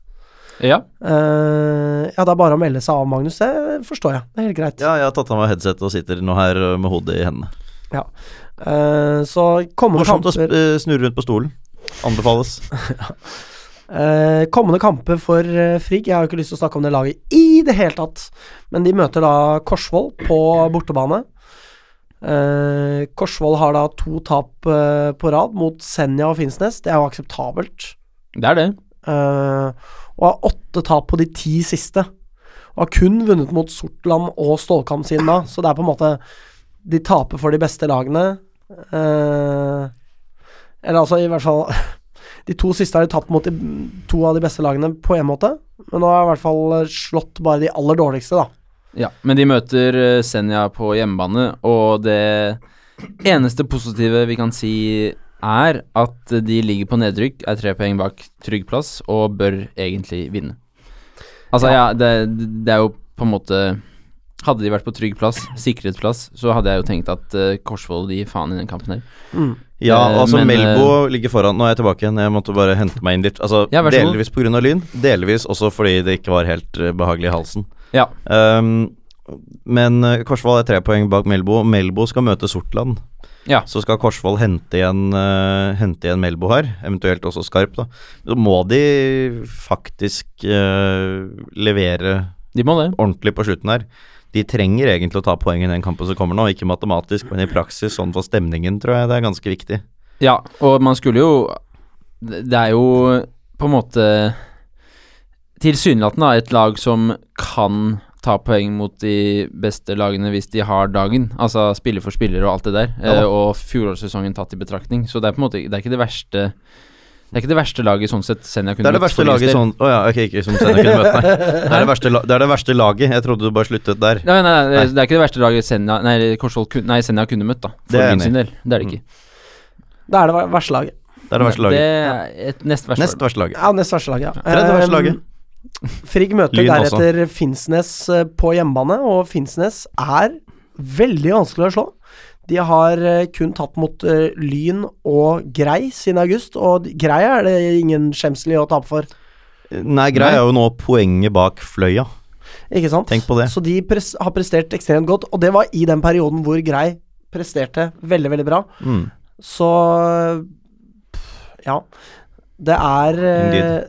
S3: Ja.
S1: Eh, ja, det er bare å melde seg av, Magnus. Det forstår jeg. Det er helt greit.
S2: Ja, jeg har tatt av meg headset og sitter nå her ø, med hodet i hendene.
S1: Eh, så kommende
S2: Morsomt å sp-
S1: kamper,
S2: ø, snurre rundt på stolen. Anbefales.
S1: eh, kommende kamper for eh, Frigg Jeg har jo ikke lyst til å snakke om det laget i det hele tatt, men de møter da Korsvoll på bortebane. Eh, Korsvoll har da to tap eh, på rad mot Senja og Finnsnes. Det er jo akseptabelt.
S3: Det er det.
S1: Eh, og har åtte tap på de ti siste. Og har kun vunnet mot Sortland og Stålkamp siden da, så det er på en måte De taper for de beste lagene. Eh, eller altså, i hvert fall De to siste har de tapt mot de, to av de beste lagene på en måte, men nå har jeg i hvert fall slått bare de aller dårligste, da.
S3: Ja, men de møter eh, Senja på hjemmebane, og det eneste positive vi kan si er at de ligger på nedrykk, er tre poeng bak trygg plass og bør egentlig vinne. Altså, ja, det, det er jo på en måte Hadde de vært på trygg plass, sikret plass, så hadde jeg jo tenkt at uh, Korsvoll de faen i den kampen her.
S1: Mm.
S2: Ja,
S3: Eh,
S2: altså
S3: men,
S2: Melbo ligger foran. Nå er jeg tilbake igjen, jeg måtte bare hente meg inn litt. Altså,
S3: Ja, vær så god.
S2: delvis pga. lyn, delvis også fordi det ikke var helt ø, behagelig i halsen.
S3: Ja.
S2: Ehm, men ø, Korsvoll er tre poeng bak Melbo. Melbo skal møte Sortland.
S3: Ja.
S2: Så skal Korsvoll hente igjen, ø, hente igjen Melbo her, eventuelt også Skarp, da. Så må de faktisk ø, levere
S3: De må det.
S2: ordentlig på slutten her. De trenger egentlig å ta poeng i den kampen som kommer nå, ikke matematisk, men i praksis, sånn for stemningen, tror jeg det er ganske viktig.
S3: Ja, og man skulle jo Det det er jo på en måte tilsynelatende da, et lag som kan ta poeng mot de beste lagene hvis de har dagen. Altså spiller for spiller og alt det der.
S2: Ja da.
S3: eh, og fjorårssesongen tatt i betraktning. Så det er på en måte det er ikke det verste Det er ikke det verste laget sånn sett Senja
S2: Det
S3: kunne
S2: er det
S3: møtt
S2: verste
S3: for deres
S2: laget
S3: del.
S2: sånn Å ja, ok, ikke som Senja kunne møte, nei. Det er det, verste, la- det er det verste laget. Jeg trodde du bare sluttet der.
S3: Nei, nei, nei,
S2: Nei.
S3: det er ikke det verste laget Senja Nei, Korsvoll kun- Nei, Senja kunne møtt, da. For
S2: Det er jeg
S3: min sin del. Det er det ikke.
S1: Det er det ver- verste laget.
S2: Det er det verste laget.
S3: Det er et nest verste
S2: Nest
S3: lag.
S2: verste laget.
S1: Ja, nest verste laget, ja.
S2: Tredje verste laget.
S1: Eh, Frigg møter
S2: Lyn også.
S1: deretter Finnsnes eh, på hjemmebane, og Finnsnes er veldig vanskelig å slå. De har eh, kun tapt mot eh, Lyn og Grei siden august, og de- Grei er det ingen skjemsel i å tape for,
S2: Nei, grei er jo nå poenget bak fløya.
S1: ikke sant?
S2: Tenk på det.
S1: Så de pres har prestert ekstremt godt, og det var i den perioden hvor Grei presterte veldig, veldig bra.
S2: Mm.
S1: Så pff, ja. Det er eh,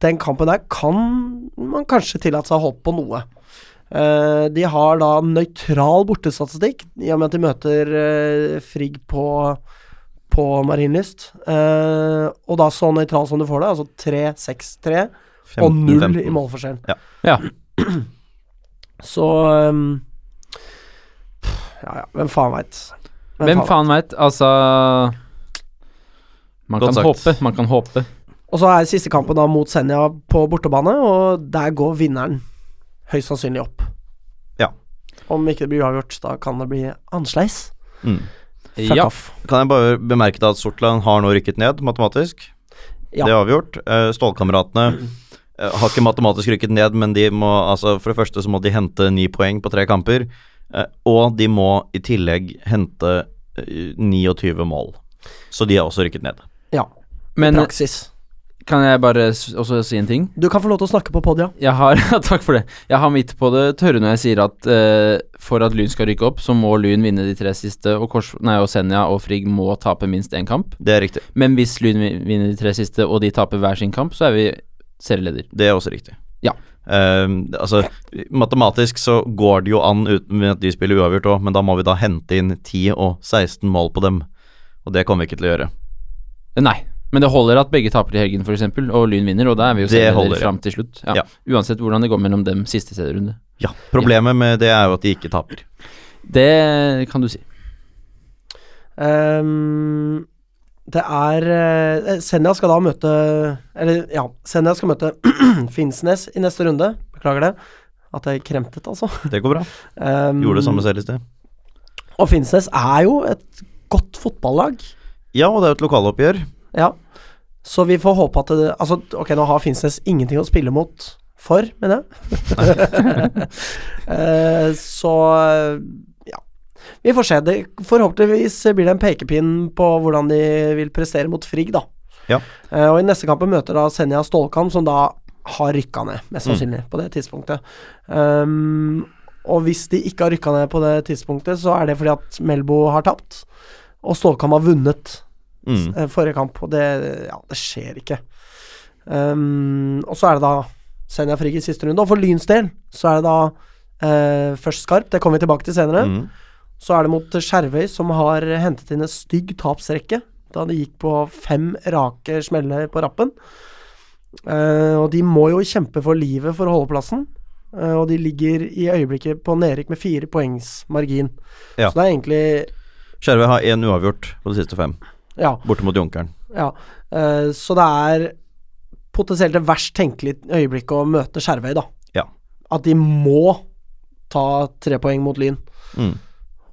S1: Den kampen der kan man kanskje tillate seg å håpe på noe. Eh, de har da nøytral bortestatistikk, i og med at de møter eh, Frigg på, på Marienlyst. Eh, og da så nøytral som du får det, altså 3-6-3 og
S2: 15,
S1: null
S2: 15.
S1: i målforskjell.
S2: Ja.
S3: Ja.
S1: Så ehm, Ja, ja, hvem faen veit.
S3: Hvem faen veit? Altså Man
S2: Godt
S3: kan
S2: sagt.
S3: håpe, man kan håpe.
S1: Og så er siste kampen da mot Senja på bortebane, og der går vinneren høyst sannsynlig opp.
S2: Ja.
S1: Om ikke det blir uavgjort, da kan det bli annerledes.
S2: Mm.
S1: Fuck
S3: Ja.
S1: off.
S2: Kan jeg bare bemerke da at Sortland har nå rykket ned matematisk.
S1: Ja.
S2: Det er avgjort. Eh, Stålkameratene eh, har ikke matematisk rykket ned, men de må altså For det første så må de hente ni poeng på tre kamper, eh, og de må i tillegg hente eh, 29 mål. Så de er også rykket ned.
S1: Ja.
S3: Men
S1: Praksis.
S3: kan jeg bare s- også si en ting?
S1: Du kan få lov til å snakke på podia.
S3: Jeg har, ja, takk for det. Jeg har midt på det tørre når jeg sier at eh, for at Lyn skal rykke opp, så må Lyn vinne de tre siste, og, Kors, nei, og Senja og Frigg må tape minst én kamp.
S2: Det er riktig.
S3: Men hvis Lyn vi- vinner de tre siste, og de taper hver sin kamp, så er vi serieleder.
S2: Det er også riktig.
S3: Ja.
S2: Eh, altså, matematisk så går det jo an uten at de spiller uavgjort òg, men da må vi da hente inn 10 og 16 mål på dem. Og det kommer vi ikke til å gjøre.
S3: Eh, Nei, men det holder at begge taper i helgen, f.eks., og Lyn vinner, og da er vi jo
S2: Det holder,
S3: serieleder
S2: ja.
S3: fram til slutt. Ja.
S2: Ja.
S3: Uansett hvordan det går mellom dem siste serierunde.
S2: Ja, Problemet med det er jo at de ikke taper.
S3: Det kan du si.
S1: Ehm, det er eh, Senja skal da møte Eller, ja. Senja skal møte Finnsnes i neste runde. Beklager det. At jeg kremtet, altså.
S2: Det går bra.
S1: Ehm,
S2: Gjorde det samme selv i sted.
S1: Og Finnsnes er jo et godt fotballag.
S2: Ja, og det er jo et lokaloppgjør.
S1: Ja. Så vi får håpe at det Altså, ok, nå har Finnsnes ingenting å spille mot for, mener jeg. Eh, så ja. Vi får se. Det, forhåpentligvis blir det en pekepinn på hvordan de vil prestere mot Frigg, da.
S2: Ja.
S1: Eh, og i neste kamp møter da Senja Stålkamp, som da har rykka ned, mest sannsynlig, på det tidspunktet. Um, og hvis de ikke har rykka ned på det tidspunktet, så er det fordi at Melbo har tapt, og Stålkamp har vunnet
S2: Mm.
S1: eh, forrige kamp, og det, ja, det skjer ikke. Ehm, og så er det da Senja Frigg i siste runde. Og for Lyns del så er det da eh, først Skarp, det kommer vi tilbake til senere.
S2: Mm.
S1: Så er det mot Skjervøy, som har hentet inn en stygg tapsrekke. Da de gikk på fem rake smeller på rappen. Eh, og de må jo kjempe for livet for å holde plassen. Eh, og de ligger i øyeblikket på nedrykk med fire poengs margin.
S2: Ja.
S1: Så det er egentlig
S2: Skjervøy har én uavgjort på de siste fem,
S1: Ja.
S2: borte mot Junkeren.
S1: Ja, eh, så det er potensielt det verst tenkelige øyeblikket å møte Skjervøy, da.
S2: Ja.
S1: At de må ta tre poeng mot Lyn.
S2: Mm.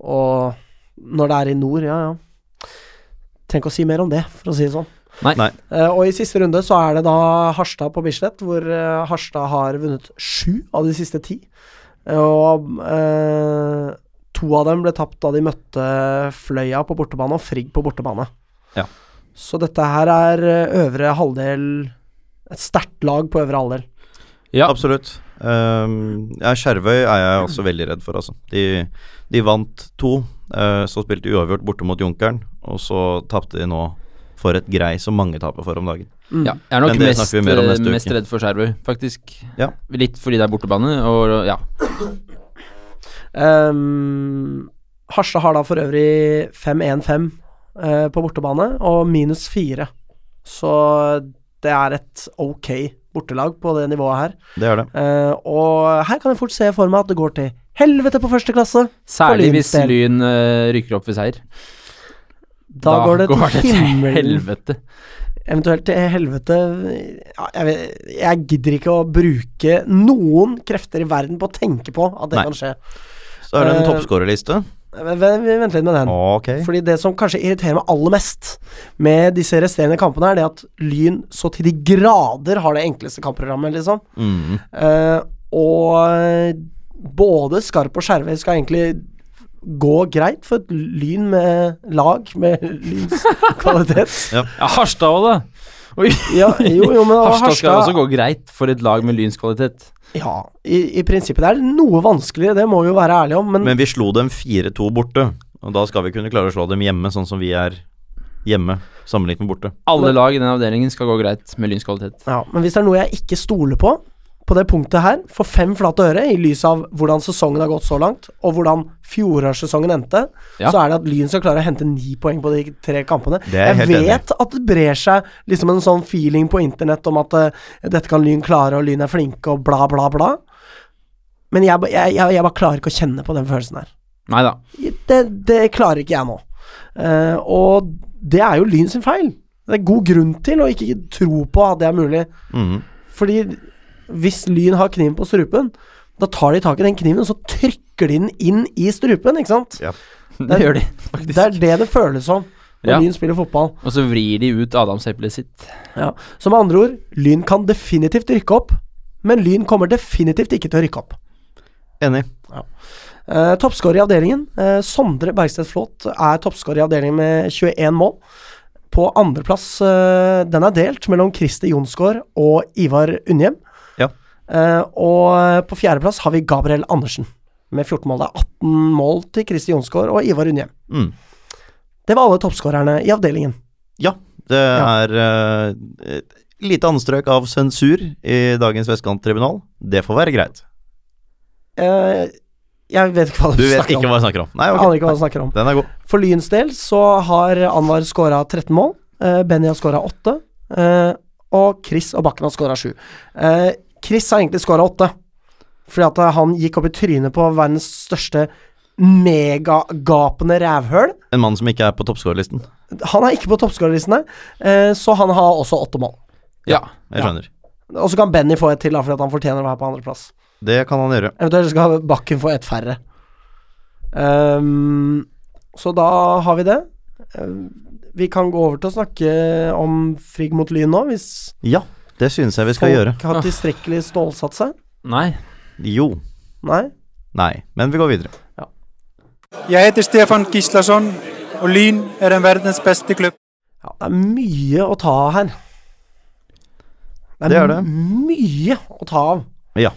S1: Og når det er i nord, ja ja. Tenk å si mer om det, for å si det sånn.
S3: Nei.
S2: Nei.
S1: Eh, og i siste runde så er det da Harstad på Bislett, hvor eh, Harstad har vunnet sju av de siste ti. Og eh, to av dem ble tapt da de møtte Fløya på bortebane og Frigg på bortebane.
S2: Ja.
S1: Så dette her er eh, øvre halvdel Et sterkt lag på øvre halvdel.
S3: Ja.
S2: Absolutt. Um, ja, Skjervøy er jeg også veldig redd for, altså. De, de vant to, eh, så spilte de uavgjort borte mot Junkeren, og så tapte de nå for et grei som mange taper for om dagen.
S3: Ja, jeg er nok
S2: Mm. Men det
S3: mest,
S2: snakker vi mer om
S3: eh,
S2: neste
S3: mest
S2: uke.
S3: redd for Skjervøy, faktisk.
S2: Ja.
S3: Litt fordi det er bortebane, og ja.
S1: Um, Harstad har da for øvrig 5-1-5 eh, på bortebane og minus 4. Så det er et ok bortelag på det nivået her.
S2: Det er det.
S1: Eh, og her kan jeg fort se for meg at det går til helvete på første klasse.
S3: Særlig
S1: For Lyns
S3: hvis
S1: del.
S3: Lyn eh, rykker opp ved seier.
S1: Da, går det til himmelen.
S3: helvete.
S1: Eventuelt til helvete ja, jeg, vet, jeg gidder ikke å bruke noen krefter i verden på å tenke på at det
S2: Nei.
S1: kan skje.
S2: Så er det en
S1: Eh,
S2: toppskårerliste.
S1: Men vi venter litt med den.
S2: Ok.
S1: Fordi det som kanskje irriterer meg aller mest med disse resterende kampene, er det at Lyn så til de grader har det enkleste kampprogrammet, liksom.
S2: Mm.
S1: Eh, og både Skarp og Skjervøy skal egentlig gå greit for et Lyn med lag med Lyns kvalitet.
S3: Ja, Harstad òg, da.
S1: Ja, jo, jo, men
S3: Harstad skal også
S1: Harstad
S3: gå greit for et lag med Lyns kvalitet.
S1: Ja, i, i prinsippet. Det er noe vanskeligere, det må vi jo være ærlige om, men
S2: Men vi slo dem 4-2 borte, og da skal vi kunne klare å slå dem hjemme, sånn som vi er hjemme, sammenlignet med borte.
S3: Alle lag i den avdelingen skal gå greit med Lyns kvalitet.
S1: Ja, men hvis det er noe jeg ikke stoler på på det punktet her, for fem flate øre, i lys av hvordan sesongen har gått så langt, og hvordan fjorårssesongen endte,
S3: Ja.
S1: så er det at Lyn skal klare å hente ni poeng på de tre kampene.
S2: Det er jeg
S1: jeg
S2: helt enig i.
S1: vet at det brer seg liksom en sånn feeling på internett om at eh, dette kan Lyn klare, og Lyn er flinke, og bla, bla, bla. Men jeg, ba- jeg, jeg, jeg bare klarer ikke å kjenne på den følelsen her.
S3: Nei da.
S1: Det, det klarer ikke jeg nå. Eh, og det er jo Lyn sin feil. Det er god grunn til å ikke tro på at det er mulig.
S2: Mhm.
S1: Fordi hvis lyn har kniven på strupen, da tar de tak i den kniven, og så trykker de den inn i strupen, ikke sant?
S3: Det gjør de,
S1: Det
S3: faktisk.
S1: er det det føles som når
S3: Ja.
S1: Lyn spiller fotball.
S3: Og så vrir de ut adamseplet sitt.
S1: Ja. Så med andre ord, Lyn kan definitivt rykke opp, men Lyn kommer definitivt ikke til å rykke opp.
S2: Enig.
S1: Uh, toppskårer i avdelingen. eh, Sondre Bergstedt Flåt er toppskårer i avdelingen med 21 mål. På andreplass, uh, den er delt mellom Christer Jonsgaard og Ivar Unnhjem.
S2: Ja.
S1: Eh, og på fjerdeplass har vi Gabriel Andersen med 14 mål. Det er 18 mål til Christer Jonsgaard og Ivar Unnhjem.
S2: Mm.
S1: Det var alle toppskårerne i avdelingen.
S2: Ja, det
S1: Ja.
S2: er eh, et lite anstrøk av sensur i dagens Vestkanttribunal. Det får være greit.
S1: Eh, jeg vet ikke hva
S2: Du vet
S1: snakker
S2: ikke
S1: om.
S2: hva jeg snakker om. Nei,
S1: Jeg
S2: ok.
S1: aner ikke hva du snakker om.
S2: Den er god.
S1: For Lyns del så har Anwar skåra 13 mål. eh, Benny har skåra 8. eh, og Chris og Bakken har skåra 7. Eh, Chris har egentlig skåra 8, fordi at eh, han gikk opp i trynet på verdens største megagapende rævhøl.
S2: En mann som ikke er på toppskårerlisten.
S1: Han er ikke på toppskårerlistene, eh, så han har også åtte mål.
S3: Ja.
S2: Jeg
S1: Ja.
S2: skjønner.
S1: Og så kan Benny få et til, da, fordi at han fortjener å være på andreplass.
S2: Det kan han gjøre.
S1: Eventuelt skal Bakken få ett færre. Ehm, så da har vi det. Ehm, Vi kan gå over til å snakke om Frigg mot Lyn nå, hvis
S2: Ja, det synes jeg vi skal
S1: folk
S2: gjøre.
S1: har tilstrekkelig stålsatt seg.
S3: Nei.
S2: Jo.
S1: Nei.
S2: Nei. Men vi går videre.
S5: Jeg heter Stefan Gislason, og Lyn er den verdens beste klubb.
S1: Ja, det er mye å ta av her.
S2: Det er det.
S1: mye å ta av.
S2: Ja.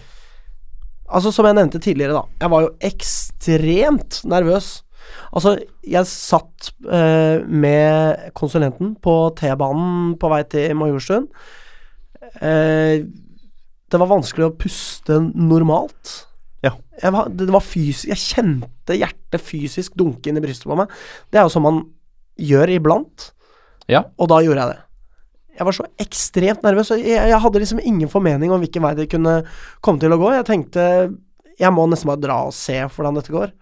S1: Altså, som jeg nevnte tidligere, da. Jeg var jo ekstremt nervøs. Altså, jeg satt eh, med konsulenten på T-banen på vei til Majorstuen. Eh, det var vanskelig å puste normalt.
S2: Ja.
S1: Jeg var, det det var fysisk Jeg kjente hjertet fysisk dunke inn i brystet på meg. Det er jo som man gjør iblant.
S3: Ja.
S1: Og da gjorde jeg det. Jeg var så ekstremt nervøs, og jeg, jeg hadde liksom ingen formening om hvilken vei det kunne komme til å gå. Jeg tenkte jeg må nesten bare dra og se hvordan dette går.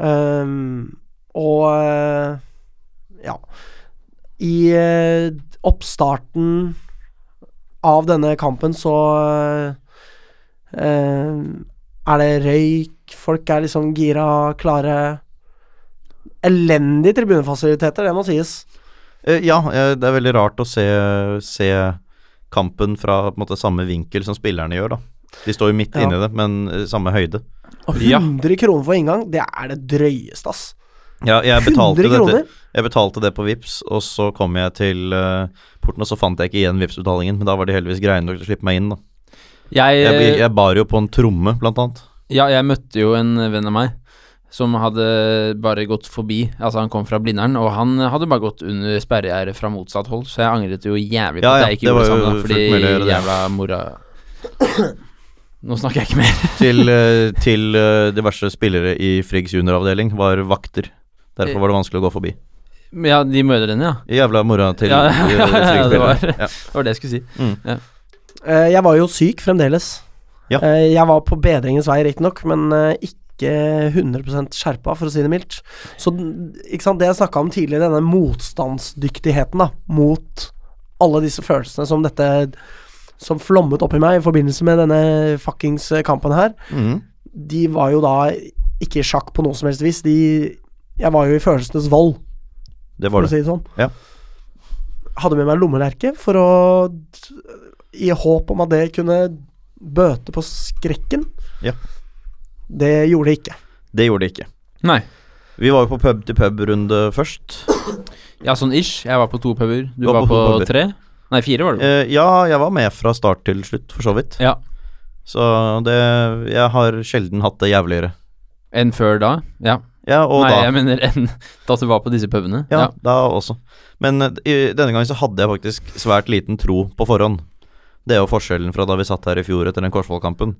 S1: Ehm, og eh, ja I eh, oppstarten av denne kampen så eh, er det røyk, folk er liksom gira, klare. Elendige tribunefasiliteter, det må sies.
S2: Eh, Ja, eh, det er veldig rart å se, se kampen fra på en måte, samme vinkel som spillerne gjør, da. De står jo midt
S1: Ja.
S2: inni det, men eh, samme høyde.
S1: Og
S3: Ja.
S1: 100 kroner for inngang, det er det drøyeste, ass.
S2: Ja, jeg betalte,
S1: 100
S2: dette,
S1: kroner?
S2: jeg betalte det på Vips og så kom jeg til eh, porten, og så fant jeg ikke igjen Vipps-betalingen, men da var de heldigvis greie nok til å slippe meg inn, da.
S3: Jeg,
S2: Jeg, blir- jeg bar jo på en tromme, blant annet.
S3: Ja, jeg møtte jo en venn av meg som hadde bare gått forbi. Altså, han kom fra Blindern, og han hadde bare gått under sperregjerdet fra motsatt hold, så jeg angret jo jævlig på
S2: Ja,
S3: at
S2: ja,
S3: jeg ikke
S2: det var
S3: gjorde det samme,
S2: jo
S3: fordi
S2: fullt mulig å gjøre det.
S3: jævla mora Nå snakker jeg ikke mer.
S2: Til, eh, til eh, diverse spillere i Friggs junioravdeling var vakter. Derfor var det vanskelig å gå forbi.
S3: Men ja, de mødrene, ja.
S2: Jævla mora til
S3: Ja, ja,
S2: eh,
S3: ja, ja,
S2: Friggs
S3: det var-
S2: spillere. Ja.
S3: Det var det jeg skulle si.
S1: Eh, jeg var jo syk fremdeles.
S2: Ja.
S1: Eh, jeg var på bedringens vei, riktignok, men eh, ikke 100 skjerpa, for å si det mildt. Så den- ikke sant, det jeg snakka om tidligere, denne motstandsdyktigheten da, mot alle disse følelsene som dette Som flommet oppi meg i forbindelse med denne fuckings eh, kampen her.
S2: Mhm.
S1: de var jo da ikke i sjakk på noe som helst vis. De, jeg var jo i følelsenes vold,
S2: Det
S1: for
S2: var
S1: å si
S2: det.
S1: det sånn.
S2: Ja.
S1: Hadde med meg lommelerke for å I håp om at det kunne bøte på skrekken.
S2: Ja.
S1: Det gjorde det ikke.
S2: Det gjorde det ikke.
S3: Nei.
S2: Vi var jo på pub til pub-runde først.
S3: Ja, sånn ish. Jeg var på to puber. Du
S2: Du var på
S3: var på,
S2: to puber.
S3: tre? Nei, fire var du. på.
S2: Eh, ja, jeg var med fra start til slutt, for så vidt.
S3: Ja.
S2: Så det Jeg har sjelden hatt det jævligere.
S3: Enn før da? Ja.
S2: Ja, og
S3: Nei,
S2: da
S3: jeg mener enn da du var på disse pubene.
S2: ja, da også. Men eh, i, denne gangen så hadde jeg faktisk svært liten tro på forhånd. Det er jo forskjellen fra da vi satt her i fjor etter den Korsvoll-kampen.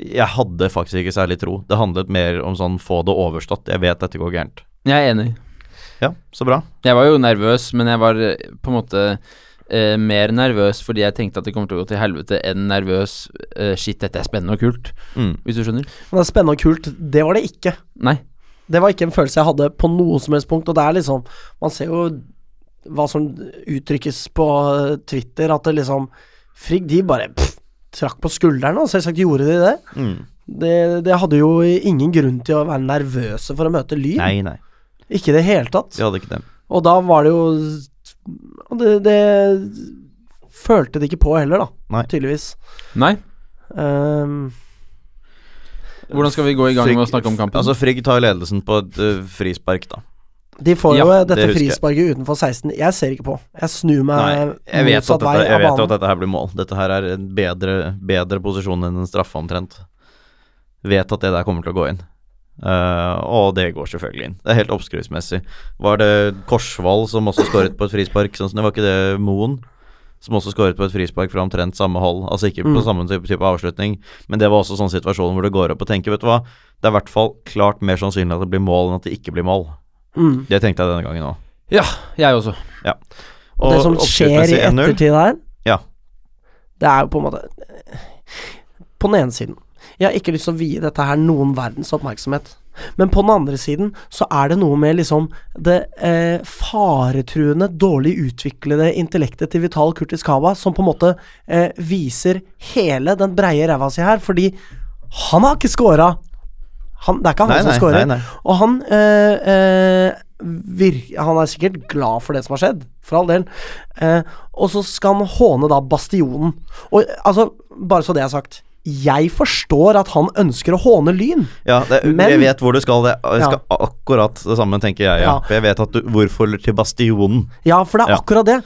S2: Jeg hadde faktisk ikke særlig tro. Det handlet mer om sånn få det overstått. Jeg vet dette går gærent.
S3: Jeg er enig.
S2: Ja, så bra.
S3: Jeg var jo nervøs, men jeg var eh, på en måte eh, mer nervøs fordi jeg tenkte at det kommer til å gå til helvete, enn nervøs eh, shit, dette er spennende og kult,
S2: Mm.
S3: hvis du skjønner?
S1: Men det er spennende og kult. Det var det ikke.
S3: Nei.
S1: Det var ikke en følelse jeg hadde på noe som helst punkt, og det er liksom Man ser jo hva som uttrykkes på eh, Twitter, at det liksom Frigg, de bare pff, trakk på skuldrene, og selvsagt gjorde de det.
S2: Mm.
S1: det. Det hadde jo ingen grunn til å være nervøse for å møte Lyn.
S2: Nei, nei.
S1: Ikke i det hele tatt.
S2: Vi hadde ikke det.
S1: Og da var det jo og det, det følte de ikke på heller, da.
S2: Nei.
S1: Tydeligvis.
S3: Nei?
S1: Ehm,
S3: Hvordan skal vi gå i gang med å snakke om kampen?
S2: Altså, Frigg tar ledelsen på et eh, frispark, da.
S1: de får
S3: Ja,
S1: jo
S2: det
S1: dette
S2: husker jeg.
S1: frisparket utenfor 16. Jeg ser ikke på. Jeg snur meg
S2: Nei, jeg vet, at
S1: Eh, motsatt
S2: dette,
S1: vei
S2: jeg
S1: av
S2: vet jo at
S1: banen.
S2: dette her blir mål. Dette her er en bedre, bedre posisjon enn en straffe, omtrent. Vet at det der kommer til å gå inn. Eh, og det går selvfølgelig inn. Det er helt oppskriftsmessig. Var det Korsvoll som også skåret på et frispark? Sånn som det var ikke det Moen? Som også skåret på et frispark fra omtrent samme hold. Altså ikke
S1: Mm.
S2: på samme type, type avslutning, men det var også sånn situasjon hvor du går opp og tenker, vet du hva, det er i hvert fall klart mer sannsynlig at det blir mål enn at det ikke blir mål.
S1: Mm.
S2: Det tenkte jeg denne gangen òg.
S3: Ja, jeg også.
S1: Og det som skjer i ettertid her,
S2: Ja.
S1: det er jo på en måte På den ene siden Jeg har ikke lyst til å vie dette her noen verdens oppmerksomhet. Men på den andre siden så er det noe med liksom det eh, faretruende dårlig utviklede intellektet til Vital Kurtis Kaba som på en måte eh, viser hele den breie ræva si her, fordi han har ikke scora. Han, det er ikke han
S2: Nei,
S1: som
S2: nei,
S1: scorer.
S2: nei, nei.
S1: Og han eh, eh, vir Han er sikkert glad for det som har skjedd, for all del. Eh, og så skal han håne da Bastionen. Og eh, altså, bare så det er sagt. Jeg forstår at han ønsker å håne Lyn.
S2: Ja, det,
S1: Men-
S2: jeg vet hvor du skal. Det, jeg skal
S1: Ja.
S2: akkurat det samme, tenker jeg. Ja.
S1: Ja.
S2: For jeg vet at du, Hvorfor til Bastionen?
S1: Ja, for det er
S2: Ja.
S1: akkurat det.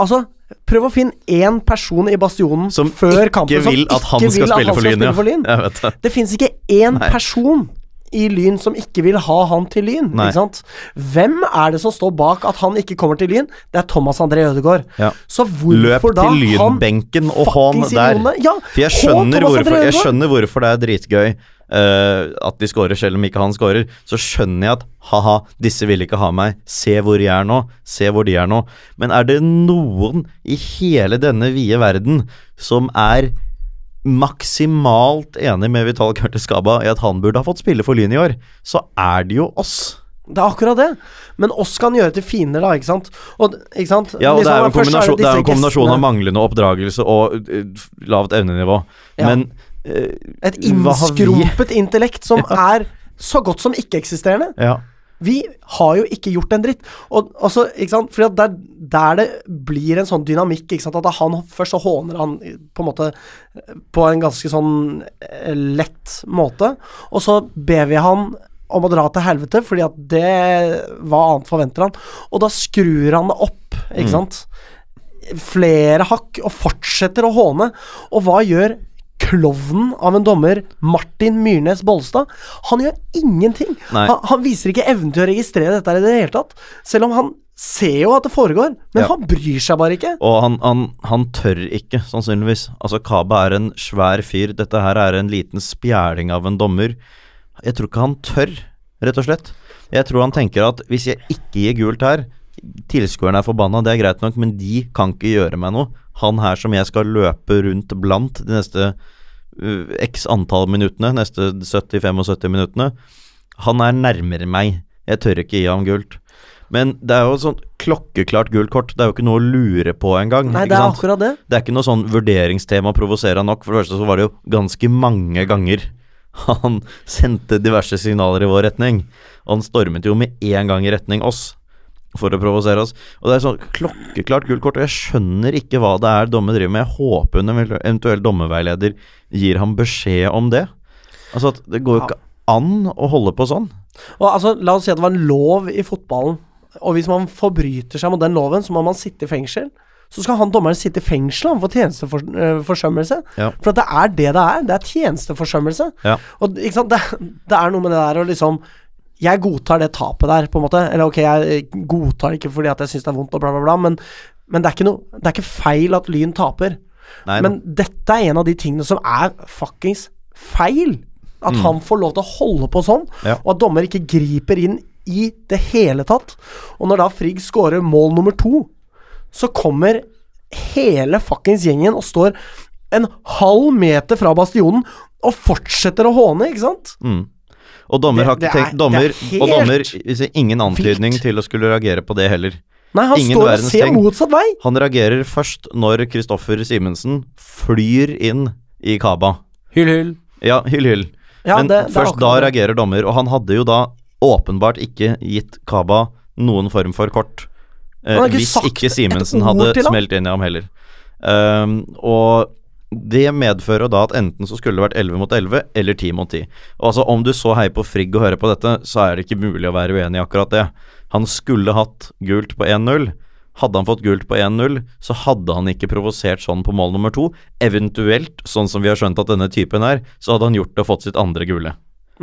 S1: Altså, prøv å finne én person i Bastionen
S2: Som
S1: før
S2: ikke
S1: kampen
S2: vil at han skal spille for Lyn. Ja. Jeg vet det.
S1: Det finnes ikke én
S2: Nei.
S1: person i Lyn som ikke vil ha han til Lyn.
S2: Nei.
S1: Ikke sant? Hvem er det som står bak at han ikke kommer til Lyn? Det er Thomas André Ødegaard.
S2: Ja.
S1: Så hvorfor
S2: Løp
S1: da
S2: til
S1: han
S2: Lynbenken og hån
S1: fuckings
S2: der.
S1: idiotene? Ja,
S2: For jeg
S1: hån Thomas
S2: skjønner,
S1: André
S2: hvorfor, jeg
S1: Ødegaard.
S2: skjønner hvorfor det er dritgøy eh, at de scorer selv om ikke han scorer. Så skjønner jeg at ha-ha, disse vil ikke ha meg. Se hvor jeg er nå. Se hvor de er nå. Men er det noen i hele denne vide verden som er maksimalt enig med Vital Curtis Skaba i at han burde ha fått spille for Lyn i år, så er det jo oss.
S1: Det er akkurat det. Men oss kan gjøre til fiender, da, ikke sant? Og, ikke sant?
S2: Ja, og
S1: Liksom,
S2: det er jo en
S1: først
S2: kombinasjon, det er jo en
S1: disse
S2: kombinasjon
S1: gestene.
S2: av manglende oppdragelse og eh, f- lavt evnenivå.
S1: Ja.
S2: Men eh,
S1: Et
S2: hva har vi-
S1: innskrumpet intellekt som er så godt som ikke-eksisterende.
S2: Ja.
S1: Vi har jo ikke gjort en dritt. Og, og så, ikke sant? Fordi at der, der det blir en sånn dynamikk, ikke sant? at han først så håner han eh, på en måte eh, på en ganske sånn eh, lett måte, og så ber vi han om å dra til helvete, fordi at det Hva annet forventer han? Og da skrur han det opp, ikke
S2: Mm.
S1: sant? Flere hakk, og fortsetter å håne. Og hva gjør klovnen av en dommer, Martin Myrnes Bolstad? Han gjør ingenting.
S2: Nei.
S1: Han, han viser ikke evnen til å registrere dette her i det hele tatt. Selv om han ser jo at det foregår, men
S2: Ja.
S1: han bryr seg bare ikke.
S2: Og han, han, han tør ikke, sannsynligvis. Altså, Kaba er en svær fyr. Dette her er en liten spjæling av en dommer. Jeg tror ikke han tør, rett og slett. Jeg tror han tenker at hvis jeg ikke gir gult her Tilskuerne er forbanna, det er greit nok, men de kan ikke gjøre meg noe. Han her som jeg skal løpe rundt blant de neste uh, x antall minuttene, neste 70-75 minuttene, han er nærmere meg. Jeg tør ikke gi ham gult. Men det er jo et sånt klokkeklart gult kort. Det er jo ikke noe å lure på engang.
S1: Nei,
S2: ikke
S1: det er
S2: sant?
S1: akkurat det.
S2: Det er ikke noe sånn vurderingstema å provosere han nok. For det første så var det jo ganske mange ganger han sendte diverse signaler i vår retning. Og han stormet jo med én gang i retning oss for å provosere oss. Og det er sånn klokkeklart gult kort, og jeg skjønner ikke hva det er dommer driver med. Jeg håper en eventuell dommerveileder gir ham beskjed om det. Altså at det går jo
S1: Ja.
S2: ikke an å holde på sånn.
S1: Og altså, La oss si at det var en lov i fotballen, og hvis man forbryter seg mot den loven, så må man sitte i fengsel. Så skal han dommeren sitte i fengsel han, for tjenesteforsømmelse.
S2: Ja.
S1: For at det er det det er. Det er tjenesteforsømmelse.
S2: Ja.
S1: Og ikke sant, det, det er noe med det der å liksom Jeg godtar det tapet der, på en måte. Eller ok, jeg godtar det ikke fordi at jeg syns det er vondt og bla, bla, bla, men, men det, er ikke noe, det er ikke feil at Lyn taper.
S2: Nei,
S1: Men dette er en av de tingene som er fuckings feil. At han får lov til å holde på sånn,
S2: Mm. Ja.
S1: og at dommer ikke griper inn i det hele tatt. Og når da Frigg scorer mål nummer to, så kommer hele fuckings gjengen og står en halv meter fra bastionen og fortsetter å håne, ikke sant?
S2: Mm. Og dommer har
S1: Det- det
S2: ikke
S1: er-
S2: tenkt dommer,
S1: det er
S2: Og dommer
S1: helt
S2: viser ingen antydning
S1: vilt.
S2: til å skulle reagere på det heller.
S1: Nei, han
S2: Ingen
S1: står og
S2: verdens
S1: ser
S2: ting.
S1: motsatt vei.
S2: Han reagerer først når Kristoffer Simensen flyr inn i Kaba.
S3: Hyll, hyll.
S2: Ja, hyll, hyll.
S1: Ja,
S2: Men
S1: det- det er
S2: først da
S1: akkurat det.
S2: reagerer dommer, og han hadde jo da åpenbart ikke gitt Kaba noen form for kort. eh,
S1: Han har ikke
S2: hvis
S1: sagt
S2: ikke
S1: et
S2: Simensen
S1: ord
S2: hadde
S1: til han.
S2: smelt inn i ham heller. Ehm, og det medfører jo da at enten så skulle det vært 11 mot 11 eller 10 mot 10. Og altså Om du så heier på Frigg og hører på dette, så er det ikke mulig å være uenig i akkurat det. Han skulle hatt gult på 1-0. Hadde han fått gult på 1-0, så hadde han ikke provosert sånn på mål nummer to. Eventuelt, sånn som vi har skjønt at denne typen er, så hadde han gjort det og fått sitt andre gule.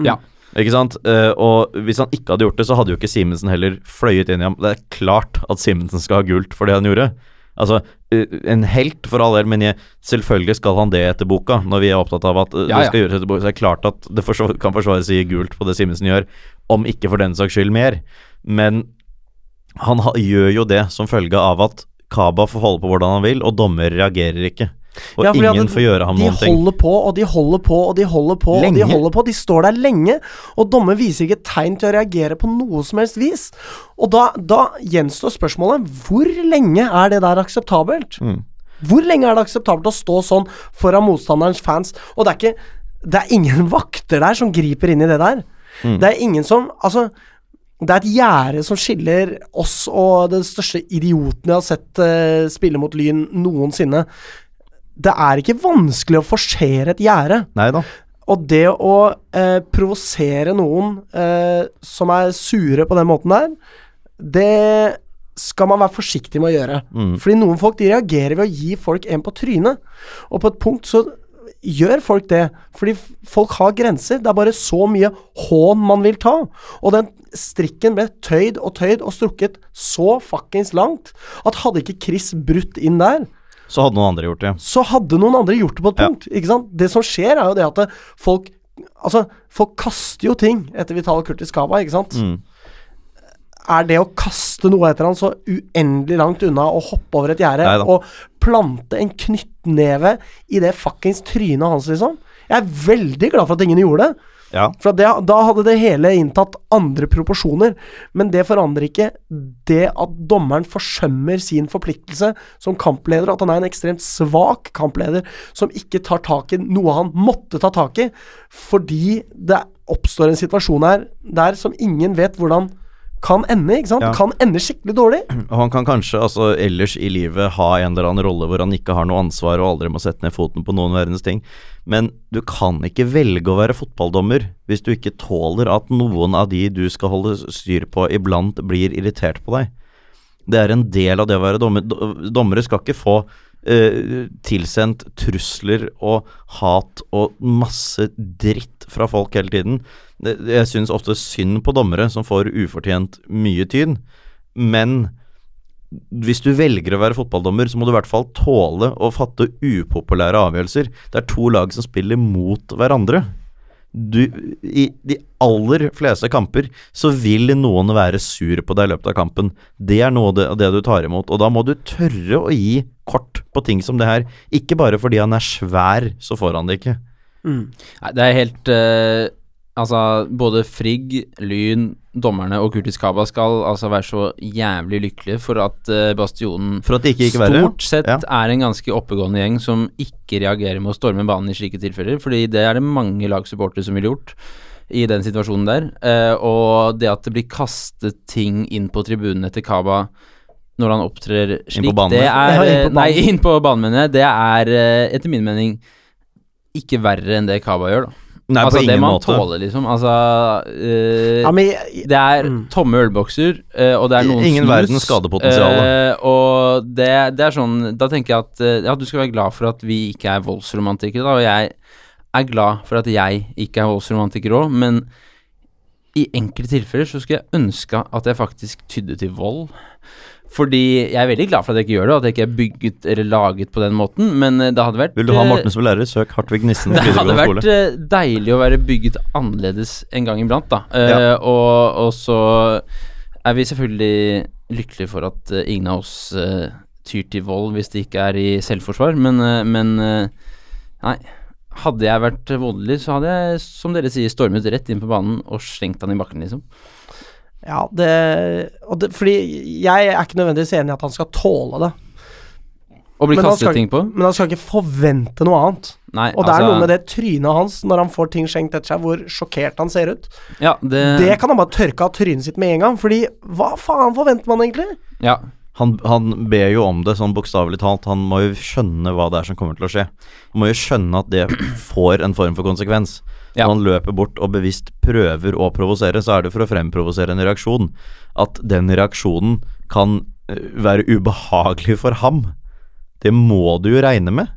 S3: Ja.
S2: Ikke sant? Eh, og hvis han ikke hadde gjort det, så hadde jo ikke Simensen heller fløyet inn i ham. Det er klart at Simensen skal ha gult for det han gjorde. Altså, eh, en helt for all del, men jeg, selvfølgelig skal han det etter boka. Når vi er opptatt av at eh,
S3: Ja,
S2: det
S3: ja.
S2: skal gjøres etter boka, så er det klart at det forsvar, kan forsvares i gult på det Simensen gjør, om ikke for den saks skyld mer. Men han ha, gjør jo det som følge av at Kaba får holde på hvordan han vil, og dommer reagerer ikke. Og
S1: Ja, fordi at
S2: ingen får gjøre ham noen
S1: De
S2: ting.
S1: holder på, og de holder på, og de holder på, og
S2: Lenge.
S1: de holder på. De står der lenge, og dommer viser ikke tegn til å reagere på noe som helst vis. Og da, da gjenstår spørsmålet hvor lenge er det der akseptabelt?
S2: Mm.
S1: Hvor lenge er det akseptabelt å stå sånn foran motstanderens fans? Og det er ikke Det er ingen vakter der som griper inn i det der.
S2: Mm.
S1: Det er ingen som Altså det er et gjerde som skiller oss og den største idioten jeg har sett eh, spille mot Lyn noensinne. Det er ikke vanskelig å forsere et gjerde.
S2: Nei da.
S1: Og det å eh, provosere noen eh, som er sure på den måten der, det skal man være forsiktig med å gjøre. Fordi noen folk de reagerer ved å gi folk en på trynet. Og på et punkt så gjør folk det. Fordi f- folk har grenser. Det er bare så mye hån man vil ta. Og den strikken ble tøyd og tøyd og strukket så fuckings langt at hadde ikke Chris brutt inn der,
S2: Så hadde noen andre gjort det.
S1: så hadde noen andre gjort det på et
S2: Ja.
S1: punkt. Ikke sant? Det som skjer, er jo det at det- folk Altså, folk kaster jo ting etter Vital Kurtis Kaba, ikke sant?
S2: Mm.
S1: Er det å kaste noe etter han så uendelig langt unna å hoppe over et gjerde
S2: Neida.
S1: og plante en knyttneve i det fuckings trynet hans, liksom? Jeg er veldig glad for at ingen gjorde det.
S2: Ja.
S1: For at det, da hadde det hele inntatt andre proporsjoner. Men det forandrer ikke det at dommeren forsømmer sin forpliktelse som kampleder, at han er en ekstremt svak kampleder som ikke tar tak i noe han måtte ta tak i, fordi det oppstår en situasjon her der som ingen vet hvordan kan ende, ikke sant?
S2: Ja.
S1: Kan ende skikkelig dårlig.
S2: Og han kan kanskje altså, ellers i livet ha en eller annen rolle hvor han ikke har noe ansvar og aldri må sette ned foten på noen verdens ting, men du kan ikke velge å være fotballdommer hvis du ikke tåler at noen av de du skal holde styr på iblant, blir irritert på deg. Det er en del av det å være dommer. Do- Dommere skal ikke få eh, tilsendt trusler og hat og masse dritt fra folk hele tiden. Det- det- Jeg syns ofte synd på dommere som får ufortjent mye tyn, men hvis du velger å være fotballdommer, så må du i hvert fall tåle å fatte upopulære avgjørelser. Det er to lag som spiller mot hverandre. Du, I de aller fleste kamper så vil noen være sur på deg i løpet av kampen. Det er noe av det, av det du tar imot, og da må du tørre å gi kort på ting som det her. Ikke bare fordi han er svær, så får han det ikke.
S3: Nei, det er helt eh, Altså, både Frigg, Lyn, dommerne og Kurtis Kaba skal altså være så jævlig lykkelige for at eh, Bastionen
S2: For at det ikke gikk verre.
S3: Stort sett
S2: Ja.
S3: er en ganske oppegående gjeng som ikke reagerer med å storme banen i slike tilfeller, fordi det er det mange lagsupportere som ville gjort i den situasjonen der. Eh, og det at det blir kastet ting inn på tribunen etter Kaba når han opptrer slik,
S2: på banen,
S3: det er
S1: ja. Ja, inn på banen.
S3: Nei, inn eh, på banen, mener jeg. Det er eh, etter min mening ikke verre enn det Kaba gjør, da.
S2: Nei,
S3: altså,
S2: på
S3: det
S2: ingen
S3: man
S2: måte.
S3: tåler, liksom. Altså eh,
S1: Ja, men jeg,
S3: Det er
S1: Mm.
S3: tomme ølbokser, eh, og det er noen
S2: Ingen
S3: snus.
S2: verdens skadepotensial,
S3: eh, Og det, det er sånn Da tenker jeg at eh, ja, du skal være glad for at vi ikke er voldsromantikere, da. Og jeg er glad for at jeg ikke er voldsromantiker òg, men i enkelte tilfeller så skulle jeg ønske at jeg faktisk tydde til vold. Fordi jeg er veldig glad for at jeg ikke gjør det, og at jeg ikke er bygget eller laget på den måten, men eh, det hadde vært
S2: Vil du ha
S3: eh,
S2: Morten som lærer, søk Hartvig Nissen
S3: det hadde
S2: videregående
S3: vært
S2: skole.
S3: eh, deilig å være bygget annerledes en gang iblant, da. Eh,
S2: Ja.
S3: og, og så er vi selvfølgelig lykkelige for at eh, ingen av oss eh, tyr til vold hvis det ikke er i selvforsvar, men, eh, men eh, Nei. Hadde jeg vært voldelig, så hadde jeg, som dere sier, stormet rett inn på banen og slengt han i bakken, liksom.
S1: ja, det, og det Fordi jeg er ikke nødvendigvis enig i at han skal tåle det,
S3: Og bli
S1: Men han
S3: kastet
S1: skal-
S3: ting på.
S1: men han skal ikke forvente noe annet.
S3: Nei, altså-
S1: Og det er noe med det trynet hans når han får ting skjenkt etter seg, hvor sjokkert han ser ut.
S3: Ja, det,
S1: Det kan han bare tørke av trynet sitt med en gang, fordi hva faen forventer man egentlig?
S3: ja.
S2: Han, han ber jo om det, sånn bokstavelig talt. Han må jo skjønne hva det er som kommer til å skje. Han må jo skjønne at det får en form for konsekvens.
S3: Ja.
S2: Når han løper bort og bevisst prøver å provosere, så er det for å fremprovosere en reaksjon. At den reaksjonen kan eh, være ubehagelig for ham. Det må du jo regne med.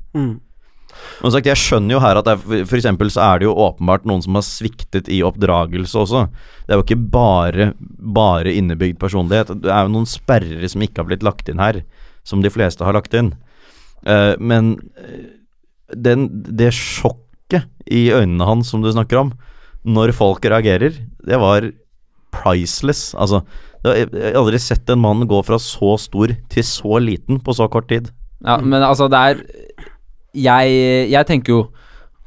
S2: Men som sagt, jeg skjønner jo her at det er, for eksempel så er det jo åpenbart noen som har sviktet i oppdragelse også. Det er jo ikke bare, bare innebygd personlighet. Det er jo noen sperrer som ikke har blitt lagt inn her, som de fleste har lagt inn. Eh, men eh, den, det sjokket i øynene hans som du snakker om, når folk reagerer, det var priceless. Altså, det var, jeg jeg har aldri sett en mann gå fra så stor til så liten på så kort tid.
S3: Ja,
S2: Mm.
S3: men altså det er Jeg, jeg tenker jo